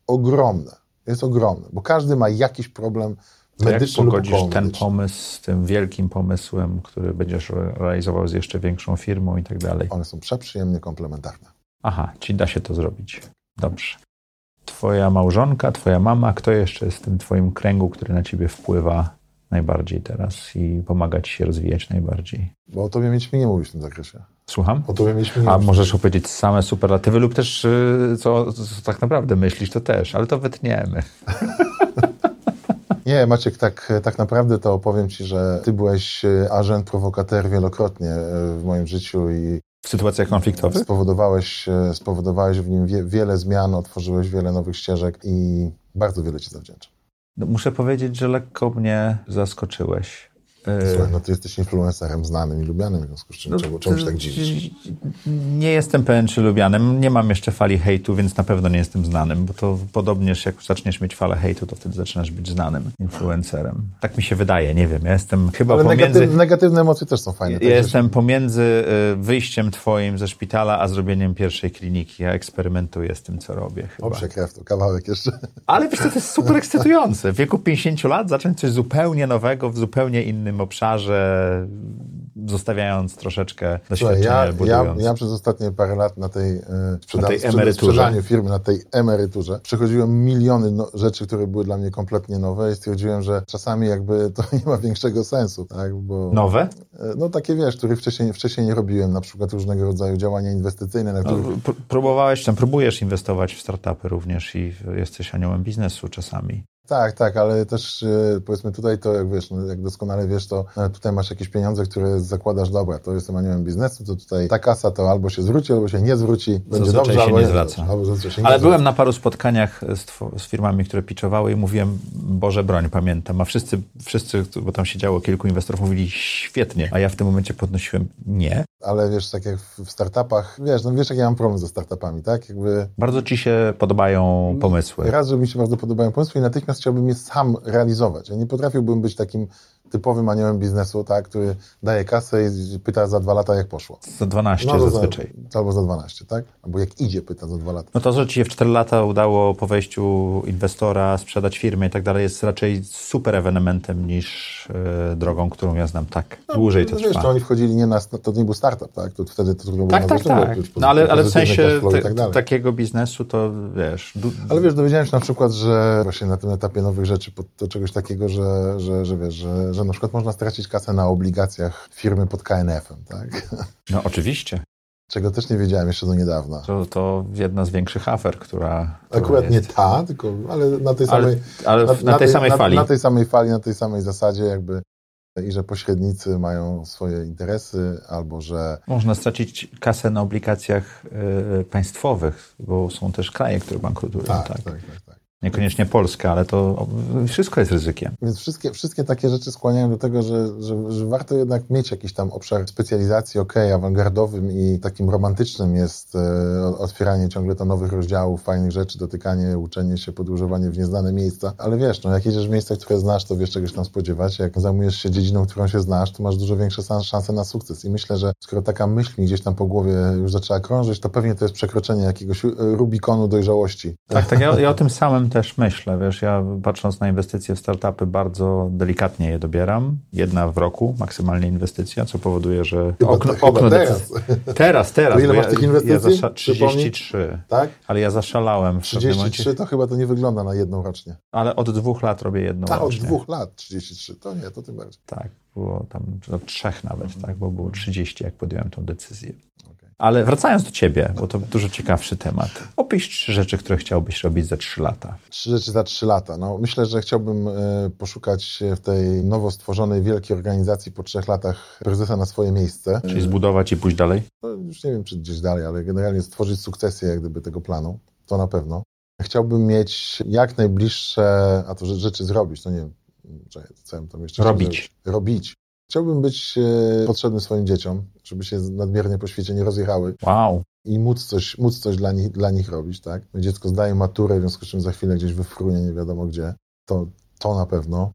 ogromne. Jest ogromne, bo każdy ma jakiś problem
To jak
medyczny lub
pogodzisz ten
okołomedyczny.
pomysł z tym wielkim pomysłem, który będziesz re- realizował z jeszcze większą firmą i tak dalej?
One są przeprzyjemnie komplementarne.
Aha, ci da się to zrobić. Dobrze. Twoja małżonka, twoja mama, kto jeszcze jest w tym twoim kręgu, który na ciebie wpływa najbardziej teraz i pomaga ci się rozwijać najbardziej?
Bo o tobie mieliśmy nie mówić w tym zakresie.
Słucham?
O tobie mieliśmy nie
A
mówić.
możesz opowiedzieć same superlatywy lub też y, co, co tak naprawdę myślisz, to też, ale to wytniemy.
Nie, Maciek, tak, tak naprawdę to powiem ci, że ty byłeś e, agent prowokater wielokrotnie e, w moim życiu i
W sytuacjach konfliktowych?
spowodowałeś, e, spowodowałeś w nim wie, wiele zmian, otworzyłeś wiele nowych ścieżek i bardzo wiele ci zawdzięczam.
No, muszę powiedzieć, że lekko mnie zaskoczyłeś. Y,
Słuchaj, no ty jesteś influencerem znanym i lubianym, w związku z czym czemu, czemu się tak dziwisz?
no, e, Nie jestem pewien, czy lubianym. Nie mam jeszcze fali hejtu, więc na pewno nie jestem znanym, bo to podobnież jak zaczniesz mieć falę hejtu, to wtedy zaczynasz być znanym influencerem. Tak mi się wydaje, nie wiem. Ja jestem chyba
Ale
pomiędzy...
negatyw, negatywne emocje też są fajne.
Ja
także-
jestem pomiędzy y, wyjściem twoim ze szpitala, a zrobieniem pierwszej kliniki. Ja eksperymentuję z tym, co robię chyba.
Dobrze, krew to kawałek jeszcze.
Ale wiesz, co, to jest super ekscytujące. W wieku 50 lat zacząć coś zupełnie nowego w zupełnie innym obszarze, zostawiając troszeczkę
Słuchaj,
doświadczenia
ja, ja,
budując.
ja przez ostatnie parę lat na tej, e, sprzeda-
Na tej
sprzeda-
emeryturze.
sprzedaniu firmy, na tej emeryturze, przechodziłem miliony no, rzeczy, które były dla mnie kompletnie nowe i stwierdziłem, że czasami jakby to nie ma większego sensu, tak, bo
Nowe?
e, no takie wiesz, których wcześniej, wcześniej nie robiłem, na przykład różnego rodzaju działania inwestycyjne, na których
Pr- Próbowałeś, tam próbujesz inwestować w startupy również i jesteś aniołem biznesu czasami.
Tak, tak, ale też e, powiedzmy tutaj to, jak wiesz, no, jak doskonale wiesz, to e, tutaj masz jakieś pieniądze, które zakładasz, dobra, to jestem aniołem biznesu, to tutaj ta kasa to albo się zwróci, albo się nie zwróci, będzie
zazwyczaj
dobrze,
się
albo
nie
będzie
zwraca.
dobrze, Albo zazwyczaj się nie
Ale
zwraca.
byłem na paru spotkaniach z, tw- z firmami, które pitchowały i mówiłem, Boże broń, pamiętam. A wszyscy, wszyscy, bo tam się działo kilku inwestorów, mówili świetnie, a ja w tym momencie podnosiłem nie.
Ale wiesz, tak jak w w startupach, wiesz, no wiesz, jak ja mam problem ze startupami, tak? Jakby
Bardzo ci się podobają pomysły.
raz, że mi się bardzo podobają pomysły i natychmiast chciałbym je sam realizować. Ja nie potrafiłbym być takim typowym aniołem biznesu, tak, który daje kasę i pyta za dwa lata, jak poszło.
Za 12
albo
zazwyczaj.
Za, albo za 12, tak? Albo jak idzie, pyta za dwa lata.
No to, że ci się w 4 lata udało po wejściu inwestora sprzedać firmę i tak dalej, jest raczej super ewenementem niż e, drogą, którą ja znam tak. Dłużej to
No wiesz, to
trwa.
oni wchodzili nie na, to nie był startup, tak? To wtedy to trudno
Tak,
było
tak, tak.
nazwać,
No, ale, ale w
pozytywny
sensie
cash flow i
te,
tak dalej.
takiego biznesu to wiesz. Du,
Ale wiesz, dowiedziałem się na przykład, że właśnie na tym etapie nowych rzeczy pod- to czegoś takiego, że, że, że wiesz, że, że na przykład można stracić kasę na obligacjach firmy pod KNF-em, tak?
no oczywiście.
Czego też nie wiedziałem jeszcze do niedawna.
To, to jedna z większych afer, która. która
Akurat nie
jest.
ta, tylko ale na tej
Ale,
samej,
ale w- na, tej samej
na,
fali.
Na tej samej fali, na tej samej zasadzie jakby i że pośrednicy mają swoje interesy, albo że
Można stracić kasę na obligacjach y, państwowych, bo są też kraje, które bankrutują.
tak,
Tak,
tak, tak, tak, tak.
Niekoniecznie Polska, ale to o, wszystko jest ryzykiem.
Więc wszystkie, wszystkie takie rzeczy skłaniają do tego, że, że, że warto jednak mieć jakiś tam obszar specjalizacji, okej, awangardowym i takim romantycznym jest e, otwieranie ciągle to nowych rozdziałów, fajnych rzeczy, dotykanie, uczenie się, podróżowanie w nieznane miejsca. Ale wiesz, no jak jedziesz w miejsca, które znasz, to wiesz czegoś tam spodziewać. Jak zajmujesz się dziedziną, którą się znasz, to masz dużo większe szan- szanse na sukces. I myślę, że skoro taka myśl mi gdzieś tam po głowie już zaczęła krążyć, to pewnie to jest przekroczenie jakiegoś e, Rubikonu dojrzałości.
Tak, tak. Ja, ja o tym samym też myślę. Wiesz, ja patrząc na inwestycje w startupy, bardzo delikatnie je dobieram. Jedna w roku, maksymalnie inwestycja, co powoduje, że
Chyba, tak,
okno,
chyba
okno
teraz,
decyzji- teraz, teraz.
To ile
bo
masz
ja-
tych
Ja
inwestycji?
zasza- 33.
tak?
Ale ja zaszalałem w pewnym momencie.
33 to chyba to nie wygląda na jedną rocznie.
Ale od dwóch lat robię jedną
A Tak, od
rocznie.
dwóch lat 33, to nie, to tym bardziej.
Tak, było tam do trzech nawet,
Mhm.
tak, bo było 30, jak podjąłem tą decyzję. Ale wracając do ciebie, bo to dużo ciekawszy temat. Opisz trzy rzeczy, które chciałbyś robić za trzy lata.
Trzy rzeczy za trzy lata. No, myślę, że chciałbym e, poszukać się w tej nowo stworzonej wielkiej organizacji po trzech latach prezesa na swoje miejsce.
Czyli zbudować i pójść dalej?
No, już nie wiem, czy gdzieś dalej, ale generalnie stworzyć sukcesję jak gdyby tego planu, to na pewno. Chciałbym mieć jak najbliższe, a to że- rzeczy zrobić, no nie wiem, czekaj, co ja bym tam jeszcze chciał
Robić.
zrobić? Robić. Chciałbym być e, potrzebny swoim dzieciom, żeby się nadmiernie po świecie nie rozjechały.
Wow.
i móc coś, móc coś dla, nich, dla nich robić, tak? Dziecko zdaje maturę, w związku z czym za chwilę gdzieś wyfrunie, nie wiadomo gdzie. To, to na pewno.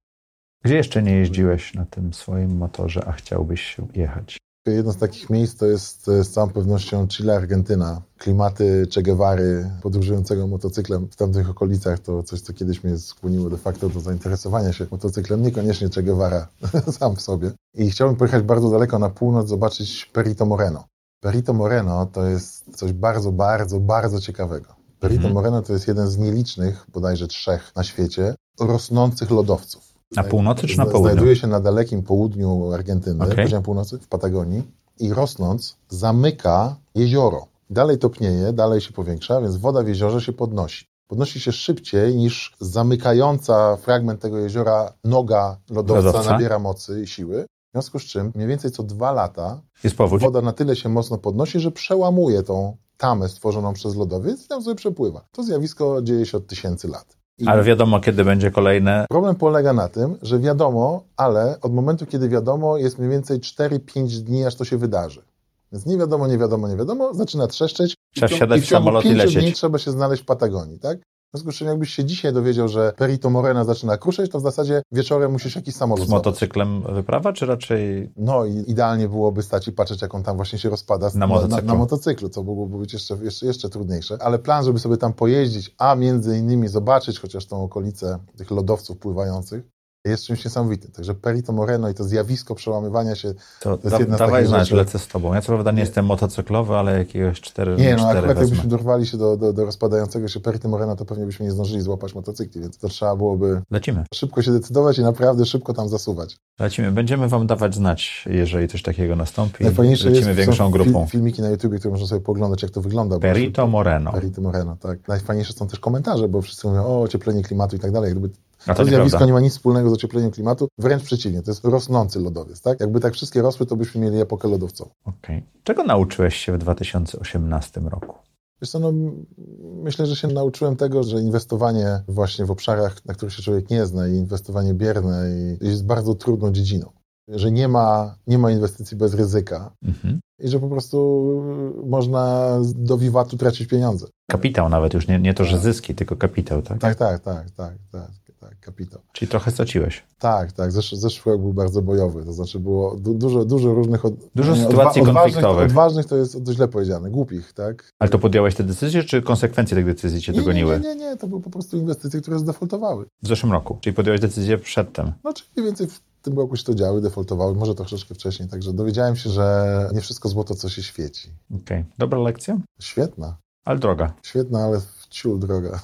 Gdzie jeszcze nie jeździłeś na tym swoim motorze, a chciałbyś jechać?
Jedno z takich miejsc to jest e, z całą pewnością Chile, Argentyna. Klimaty Che Guevary, podróżującego motocyklem w tamtych okolicach, to coś, co kiedyś mnie skłoniło de facto do zainteresowania się motocyklem, niekoniecznie Che Guevara sam w sobie. I chciałbym pojechać bardzo daleko na północ, zobaczyć Perito Moreno. Perito Moreno to jest coś bardzo, bardzo, bardzo ciekawego. Perito
Mhm.
Moreno to jest jeden z nielicznych, bodajże trzech na świecie, rosnących lodowców.
Na
Zna-
północy czy na
zna-
południu?
Znajduje się na dalekim południu Argentyny,
Okej.
okay. północy, w Patagonii i rosnąc zamyka jezioro. Dalej topnieje, dalej się powiększa, więc woda w jeziorze się podnosi. Podnosi się szybciej niż zamykająca fragment tego jeziora noga lodowca,
Lodowca.
nabiera mocy i siły. W związku z czym mniej więcej co dwa lata
Jest powódź.
woda na tyle się mocno podnosi, że przełamuje tą tamę stworzoną przez lodowiec i tam sobie przepływa. To zjawisko dzieje się od tysięcy lat. I-
Ale wiadomo, kiedy będzie kolejne.
Problem polega na tym, że wiadomo, ale od momentu, kiedy wiadomo, jest mniej więcej 4-5 dni, aż to się wydarzy. Więc nie wiadomo, nie wiadomo, nie wiadomo, zaczyna trzeszczeć. i
Trzeba
w ciągu-
wsiadać
i
w
w ciągu
samolot i
pięciu
lecieć.
dni trzeba się znaleźć w Patagonii, tak? W związku z czym, jakbyś się dzisiaj dowiedział, że Perito Morena zaczyna kruszeć, to w zasadzie wieczorem musisz jakiś samolot
Z motocyklem wyprawa, czy raczej
no i idealnie byłoby stać i patrzeć, jak on tam właśnie się rozpada z-
Na
na,
motocyklu.
na motocyklu, co mogłoby być jeszcze, jeszcze, jeszcze trudniejsze. Ale plan, żeby sobie tam pojeździć, a między innymi zobaczyć chociaż tą okolicę tych lodowców pływających, jest czymś niesamowitym. Także Perito Moreno i to zjawisko przełamywania się
to,
jest
da,
jedna z
dawaj
takich
znać,
rzeczy.
lecę z tobą. Ja co prawda nie, jestem motocyklowy, ale jakiegoś 4
Nie, no
cztery
akurat
wezmę.
jakbyśmy dorwali się do, do, do rozpadającego się Perito Moreno, to pewnie byśmy nie zdążyli złapać motocykli, więc to trzeba byłoby
Lecimy.
szybko się decydować i naprawdę szybko tam zasuwać.
Lecimy. Będziemy wam dawać znać, jeżeli coś takiego nastąpi.
Najfajniejsze
Lecimy
jest,
większą
są
grupą.
Fil, filmiki na YouTubie, które można sobie poglądać, jak to wygląda. bo
Perito Moreno.
Perito Moreno, tak. Najfajniejsze są też komentarze, bo wszyscy mówią o ocieplenie klimatu i tak dalej. Jakby
A
to
to
zjawisko
nieprawda.
nie ma nic wspólnego z ociepleniem klimatu, wręcz przeciwnie, to jest rosnący lodowiec, tak? Jakby tak wszystkie rosły, to byśmy mieli epokę lodowcową.
Okej. Czego nauczyłeś się w 2018 roku?
Wiesz co, no, m- myślę, że się nauczyłem tego, że inwestowanie właśnie w obszarach, na których się człowiek nie zna i inwestowanie bierne i, jest bardzo trudną dziedziną. Że nie ma, nie ma inwestycji bez ryzyka
Mhm.
i że po prostu y, można z- do wiwatu tracić pieniądze.
Kapitał nawet, już nie, nie to, że zyski, tylko kapitał, tak?
Tak, tak, tak, tak, tak. tak. tak, kapitał.
Czyli trochę straciłeś.
Tak, tak. Zesz, zeszły rok był bardzo bojowy, to znaczy było du, dużo, dużo różnych... Od,
Dużo
nie,
sytuacji
odwa-
konfliktowych.
Odważnych, odważnych to jest to źle powiedziane, głupich, tak?
Ale to podjąłeś te decyzje, czy konsekwencje tych decyzji cię dogoniły?
Nie, nie, nie, nie, to były po prostu inwestycje, które zdefoltowały.
W zeszłym roku. Czyli podjąłeś decyzję przedtem.
No, czyli mniej więcej w tym roku się to działy, defoltowały, może troszeczkę wcześniej, także dowiedziałem się, że nie wszystko złoto, co się świeci.
Okej. Dobra lekcja,
Świetna,
ale droga.
świetna, ale w ciul droga.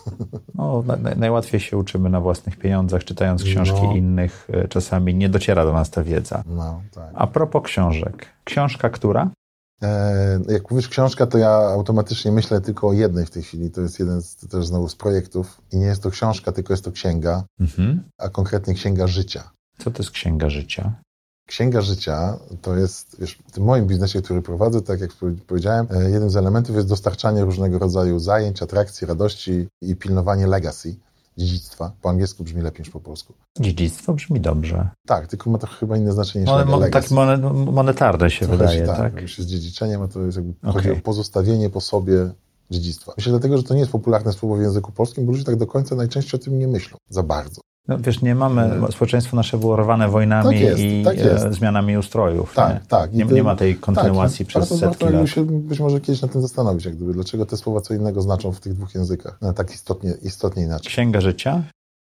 No, na, na, najłatwiej się uczymy na własnych pieniądzach, czytając książki
No.
innych. Y, Czasami nie dociera do nas ta wiedza.
No, tak.
A propos książek. Książka która?
E, Jak mówisz książka, to ja automatycznie myślę tylko o jednej w tej chwili. To jest jeden z, też znowu z projektów. I nie jest to książka, tylko jest to księga,
Mhm.
a konkretnie księga życia.
Co to jest księga życia?
Księga życia to jest, wiesz, w tym moim biznesie, który prowadzę, tak jak powie- powiedziałem, e, jednym z elementów jest dostarczanie różnego rodzaju zajęć, atrakcji, radości i pilnowanie legacy, dziedzictwa. Po angielsku brzmi lepiej niż po polsku.
Dziedzictwo brzmi dobrze.
Tak, tylko ma to chyba inne znaczenie niż
Mon,
lega-
mon,
legacy.
tak monet, monetarne się
To
wydaje,
chodzi,
tak?
tak? Już z dziedziczeniem, a to jest jakby chodzi
Okej.
o pozostawienie po sobie dziedzictwa. Myślę dlatego, że to nie jest popularne słowo w języku polskim, bo ludzie tak do końca najczęściej o tym nie myślą za bardzo.
No, wiesz, nie mamy,
Mhm.
społeczeństwo nasze było rwane wojnami
Tak jest,
i
tak
e,
jest.
zmianami ustrojów.
Tak,
nie?
tak. I
Nie,
to-
nie ma tej kontynuacji
tak,
przez
warto-
setki
warto
lat.
się być może kiedyś na tym zastanowić, jak gdyby, dlaczego te słowa co innego znaczą w tych dwóch językach, no, tak istotnie, istotnie inaczej.
Księga życia,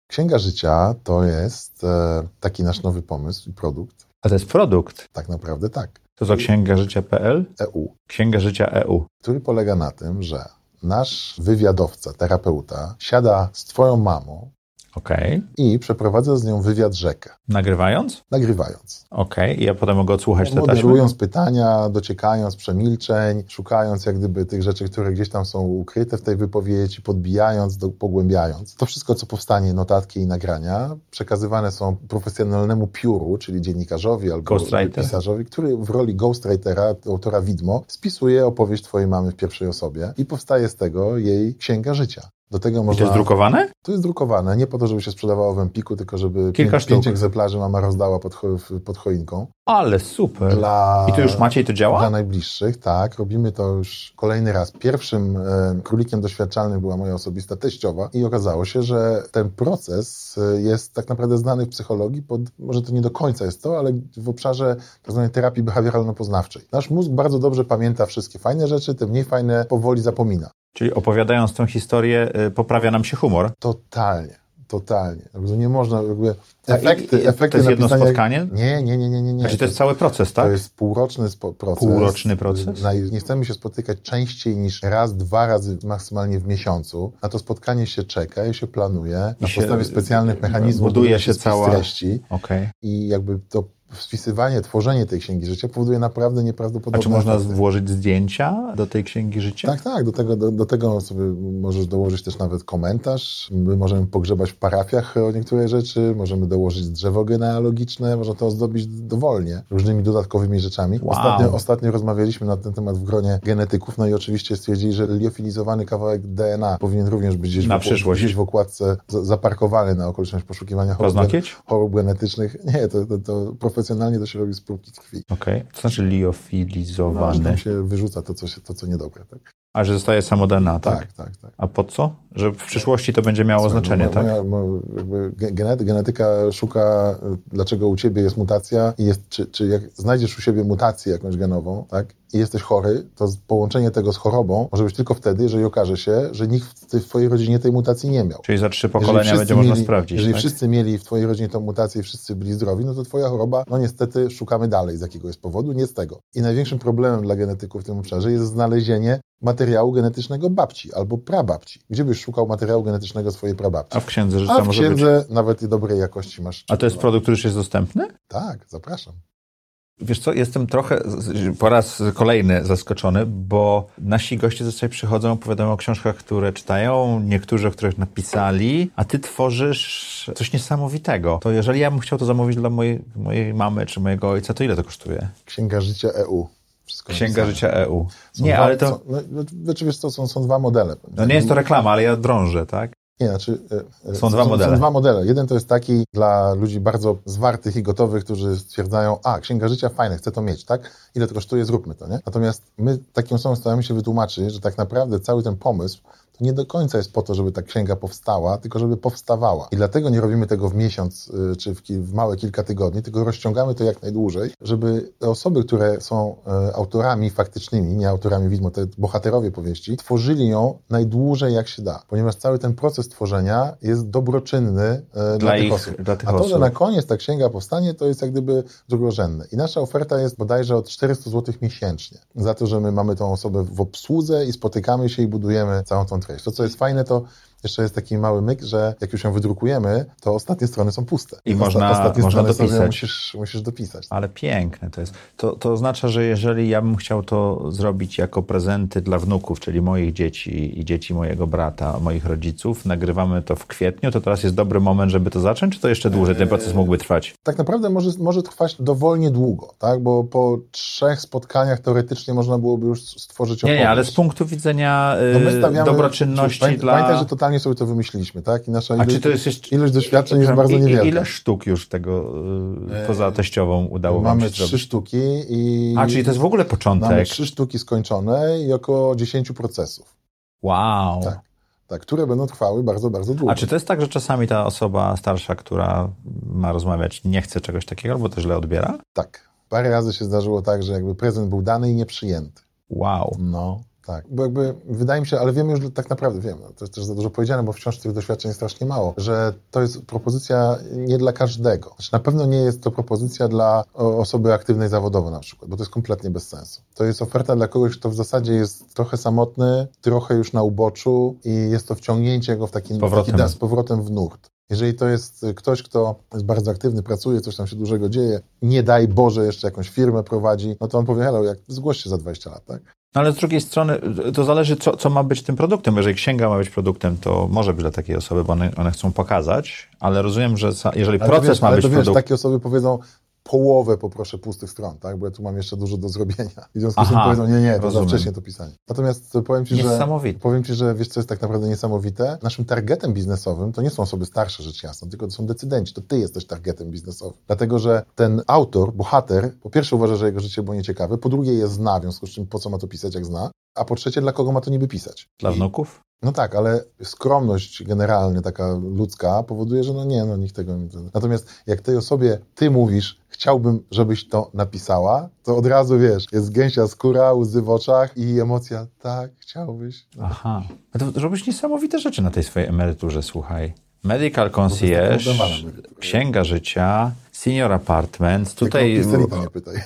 Księga Życia to jest e, taki nasz nowy pomysł i produkt,
a to jest produkt.
tak naprawdę tak,
To co księga życia.pl?
EU.
Księga życia E EU.
który polega na tym, że nasz wywiadowca, terapeuta siada z twoją mamą
Okej.
i przeprowadza z nią wywiad rzekę.
Nagrywając?
nagrywając.
Okej. I ja potem mogę odsłuchać te taśmy?
Moderując pytania, dociekając przemilczeń, szukając jak gdyby tych rzeczy, które gdzieś tam są ukryte w tej wypowiedzi, podbijając, do, pogłębiając. To wszystko, co powstanie, notatki i nagrania, przekazywane są profesjonalnemu pióru, czyli dziennikarzowi albo
Ghostwriter.
pisarzowi, który w roli ghostwritera, autora widmo, spisuje opowieść twojej mamy w pierwszej osobie i powstaje z tego jej księga życia. Do tego
I to
można...
jest drukowane?
To jest drukowane, nie po to, żeby się sprzedawało w Empiku, tylko żeby
Kilka
pięć,
sztuk.
pięć egzemplarzy mama rozdała pod, cho- w- pod choinką.
Ale super.
Dla,
I to już macie i to
dla
działa?
najbliższych, tak. Robimy to już kolejny raz. Pierwszym e, królikiem doświadczalnym była moja osobista teściowa i okazało się, że ten proces e, jest tak naprawdę znany w psychologii pod, może to nie do końca jest to, ale w obszarze tak zwanej terapii behawioralno-poznawczej. Nasz mózg bardzo dobrze pamięta wszystkie fajne rzeczy, te mniej fajne powoli zapomina.
Czyli opowiadając tą historię, y, poprawia nam się humor.
Tak, Totalnie. Totalnie. Jakby Nie można, jakby
A i-
efekty,
i-
efekty
to jest jedno
napisania-
spotkanie?
Nie, nie, nie, nie, nie. nie.
Znaczy to jest cały proces, tak?
To jest półroczny spo- proces.
Półroczny proces?
Na- Nie chcemy się spotykać częściej niż raz, dwa razy maksymalnie w miesiącu. Na to spotkanie się czeka i się planuje. Na
się-
podstawie specjalnych mechanizmów
buduje się
spis
cała-
treści
Okej.
i jakby to wpisywanie, tworzenie tej księgi życia powoduje naprawdę
A
nieprawdopodobne
czy można
efekty.
włożyć zdjęcia do tej księgi życia?
Tak, tak, do tego, do, do tego sobie możesz dołożyć też nawet komentarz. My możemy pogrzebać w parafiach o niektóre rzeczy, możemy dołożyć drzewo genealogiczne, można to ozdobić dowolnie różnymi dodatkowymi rzeczami.
Wow.
Ostatnio, ostatnio rozmawialiśmy na ten temat w gronie genetyków, no i oczywiście stwierdzili, że liofilizowany kawałek DNA powinien również być gdzieś,
Na
w,
przyszłość.
gdzieś w okładce za- zaparkowany na okoliczność poszukiwania chorób, gen-
Roznokieć?
chorób genetycznych. Nie, to, to, to profesjonalnie to się robi z próbki krwi.
Okej. Co znaczy
No, że
liofilizowany?
tam się wyrzuca to, co, się, to, co niedobre. Tak,
A że zostaje samo DNA, tak?
tak, tak. tak.
A po co? Że w przyszłości to będzie miało
Słuchaj,
znaczenie,
no,
tak?
moja- mo- jakby ge- genet- genetyka szuka, y, dlaczego u ciebie jest mutacja i jest, czy, czy jak znajdziesz u siebie mutację jakąś genową, tak, i jesteś chory, to z- połączenie tego z chorobą może być tylko wwtedy, jeżeli okaże się, że nikt w ty- w twojej rodzinie tej mutacji nie miał.
Czyli za trzy
Jeżeli
pokolenia
wszyscy
będzie można
mieli-
sprawdzić.
Jeżeli
tak?
wszyscy mieli w twojej rodzinie tą mutację i wszyscy byli zdrowi, no to twoja choroba, no niestety szukamy dalej z jakiego jest powodu, nie z tego. I największym problemem dla genetyków w tym obszarze jest znalezienie materiału genetycznego babci albo prababci. Gdzie byś szukał materiału genetycznego swojej prababci?
A w księdze życia
A w
może być.
księdze nawet i dobrej jakości masz.
A to jest produkt, który już jest dostępny?
Tak, zapraszam.
Wiesz co, jestem trochę z- po raz kolejny zaskoczony, bo nasi goście zazwyczaj przychodzą, opowiadają o książkach, które czytają, niektórzy, o których napisali, a ty tworzysz coś niesamowitego. To jeżeli ja bym chciał to zamówić dla mojej, mojej mamy czy mojego ojca, to ile to kosztuje?
Księga życia EU. Wszystko
Księga
napisane.
Życia EU.
Są
Nie,
dwa,
ale to...
Są, no, znaczy, wiesz co, są, są dwa modele.
No nie jest to reklama, ale ja drążę, tak?
Nie, znaczy, e, e,
Są dwa modele.
Są dwa modele. Jeden to jest taki dla ludzi bardzo zwartych i gotowych, którzy stwierdzają, a, księga życia, fajne, chcę to mieć, tak? Ile to kosztuje, zróbmy to, nie? Natomiast my takim osobom staramy się wytłumaczyć, że tak naprawdę cały ten pomysł to nie do końca jest po to, żeby ta księga powstała, tylko żeby powstawała. I dlatego nie robimy tego w miesiąc y, czy w, w małe kilka tygodni, tylko rozciągamy to jak najdłużej, żeby te osoby, które są y, autorami faktycznymi, nie autorami widmo, te bohaterowie powieści, tworzyli ją najdłużej jak się da, ponieważ cały ten proces tworzenia jest dobroczynny y, dla, dla tych ich, osób.
Dla tych
A to,
osób.
że na koniec ta księga powstanie, to jest jak gdyby drugorzędne. I nasza oferta jest bodajże od 400 zł miesięcznie za to, że my mamy tą osobę w obsłudze i spotykamy się i budujemy całą tą treść. To, co jest fajne, to jeszcze jest taki mały myk, że jak już ją wydrukujemy, to ostatnie strony są puste.
I można,
ostatnie
można
strony
dopisać.
musisz, musisz dopisać.
Ale piękne to jest. To, to oznacza, że jeżeli ja bym chciał to zrobić jako prezenty dla wnuków, czyli moich dzieci i dzieci mojego brata, moich rodziców, nagrywamy to w kwietniu, to teraz jest dobry moment, żeby to zacząć, czy to jeszcze dłużej ten proces mógłby trwać?
Tak naprawdę może, może trwać dowolnie długo, tak? bo po trzech spotkaniach teoretycznie można byłoby już stworzyć opowieść.
Nie, nie ale z punktu widzenia yy,
No stawiamy-
dobroczynności
Pamiętaj,
dla...
pamiętaj, że totalnie sobie to wymyśliliśmy, tak? I nasza
A
ilość,
czy to jest jeszcze...
ilość doświadczeń jest
Przepraszam,
bardzo
i- i-
niewielka.
Ile sztuk już tego yy, poza teściową udało wam
Mamy
się
trzy
zrobić?
sztuki i
A, czyli to tak. jest w ogóle
mamy
początek.
trzy sztuki skończone i około 10 procesów,
Wow.
Tak. tak, które będą trwały bardzo, bardzo długo.
A czy to jest tak, że czasami ta osoba starsza, która ma rozmawiać, nie chce czegoś takiego, albo to źle odbiera?
Tak. Parę razy się zdarzyło tak, że jakby prezent był dany i nieprzyjęty.
Wow.
No. Tak, bo jakby wydaje mi się, ale wiem już że tak naprawdę, wiem, to jest też za dużo powiedziane, bo wciąż tych doświadczeń jest strasznie mało, że to jest propozycja nie dla każdego. Znaczy, na pewno nie jest to propozycja dla o, osoby aktywnej zawodowo na przykład, bo to jest kompletnie bez sensu. To jest oferta dla kogoś, kto w zasadzie jest trochę samotny, trochę już na uboczu i jest to wciągnięcie go w taki, w taki
powrotem.
da, z powrotem w nurt. Jeżeli to jest y, ktoś, kto jest bardzo aktywny, pracuje, coś tam się dużego dzieje, nie daj Boże, jeszcze jakąś firmę prowadzi, no to on powie, hello, jak zgłoś się za 20 lat, tak?
No ale z drugiej strony to zależy, co, co ma być tym produktem. Jeżeli księga ma być produktem, to może być dla takiej osoby, bo one, one chcą pokazać, ale rozumiem, że sa- jeżeli
Ale to
proces
wiesz,
ma
ale
być
to wiesz, tak-
produktem...
takie osoby powiedzą połowę poproszę pustych stron, tak? Bo ja tu mam jeszcze dużo do zrobienia. I w związku z tym
Aha,
powiedzą, nie, nie, to za
rozumiem.
wcześnie to pisanie. Natomiast e, powiem ci, że
Niesamowite.
powiem ci, że wiesz, co jest tak naprawdę niesamowite? Naszym targetem biznesowym to nie są osoby starsze, rzecz jasna, tylko to są decydenci. To ty jesteś targetem biznesowym. Dlatego, że ten autor, bohater, po pierwsze uważa, że jego życie było nieciekawe, po drugie je zna, w związku z czym po co ma to pisać, jak zna, a po trzecie, dla kogo ma to niby pisać.
Dla
I-
wnuków?
no tak, ale skromność generalnie taka ludzka powoduje, że no nie, no nikt tego nie... Natomiast jak tej osobie ty mówisz, chciałbym, żebyś to napisała, to od razu wiesz, jest gęsia skóra, łzy w oczach i emocja, tak, chciałbyś.
Aha. A to robisz niesamowite rzeczy na tej swojej emeryturze, słuchaj. Medical
No To
concierge,
jest tak taka udawana emerytura.
księga życia, senior apartment. Tutaj...
Tutaj... Tylko nie pytaj.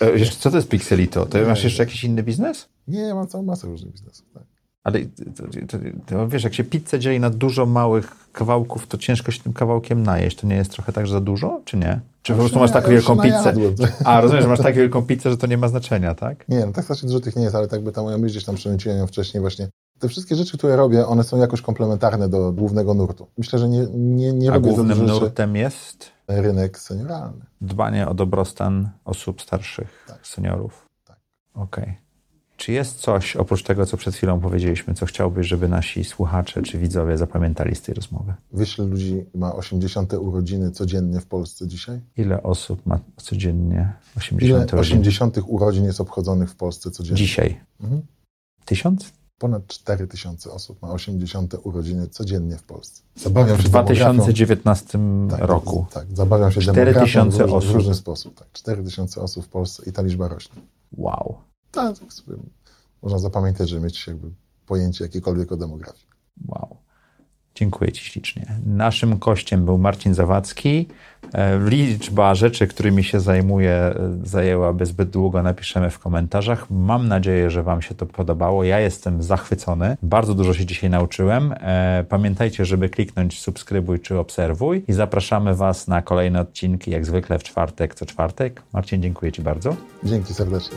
E, wiesz, Co to jest Pixelito? To masz jeszcze jakiś inny biznes?
Nie, ja mam całą masę różnych biznesów. Tak.
Ale y, to, to, to, wiesz, jak się pizzę dzieli na dużo małych kawałków, to ciężko się tym kawałkiem najeść. To nie jest trochę tak, że za dużo, czy nie? Czy po prostu masz
nie,
tak
ja już
wielką pizzę?
najadłem.
A, rozumiem, że masz tak wielką pizzę, że to nie ma znaczenia, tak?
Nie, no tak strasznie dużo tych nie jest, ale tak by ta moja myśl gdzieś tam przenęciłem ją wcześniej właśnie. Te wszystkie rzeczy, które robię, one są jakoś komplementarne do głównego nurtu. Myślę, że nie, nie, nie
A
robię za
głównym
dużo rzeczy.
nurtem jest
Rynek senioralny.
dbanie o dobrostan osób starszych,
Tak.
seniorów.
Tak.
Okej. Czy jest coś, oprócz tego, co przed chwilą powiedzieliśmy, co chciałbyś, żeby nasi słuchacze czy widzowie zapamiętali z tej rozmowy?
Wyśl ludzi ma 80 urodziny codziennie w Polsce dzisiaj.
Ile osób ma codziennie 80 rodzin?
Ile 80 urodzin jest obchodzonych w Polsce codziennie?
Dzisiaj.
Mhm.
Tysiąc?
Ponad 4 tysiące osób ma 80 urodziny codziennie w Polsce. Zabawiam się
W
demografią.
2019 roku.
Tak, zabawiam się
4
demografią
tysiące
w różny,
osób.
W różny sposób. Tak. 4 tysiące osób w Polsce i ta liczba rośnie.
Wow.
Tak, tak sobie można zapamiętać, że mieć jakby pojęcie jakiekolwiek o demografii.
Wow. Dziękuję Ci ślicznie. Naszym gościem był Marcin Zawadzki. E, Liczba rzeczy, którymi się zajmuję, e, zajęłaby zbyt długo, napiszemy w komentarzach. Mam nadzieję, że Wam się to podobało. Ja jestem zachwycony. Bardzo dużo się dzisiaj nauczyłem. E, Pamiętajcie, żeby kliknąć subskrybuj czy obserwuj i zapraszamy Was na kolejne odcinki, jak zwykle w czwartek co czwartek. Marcin, dziękuję Ci bardzo.
Dzięki serdecznie.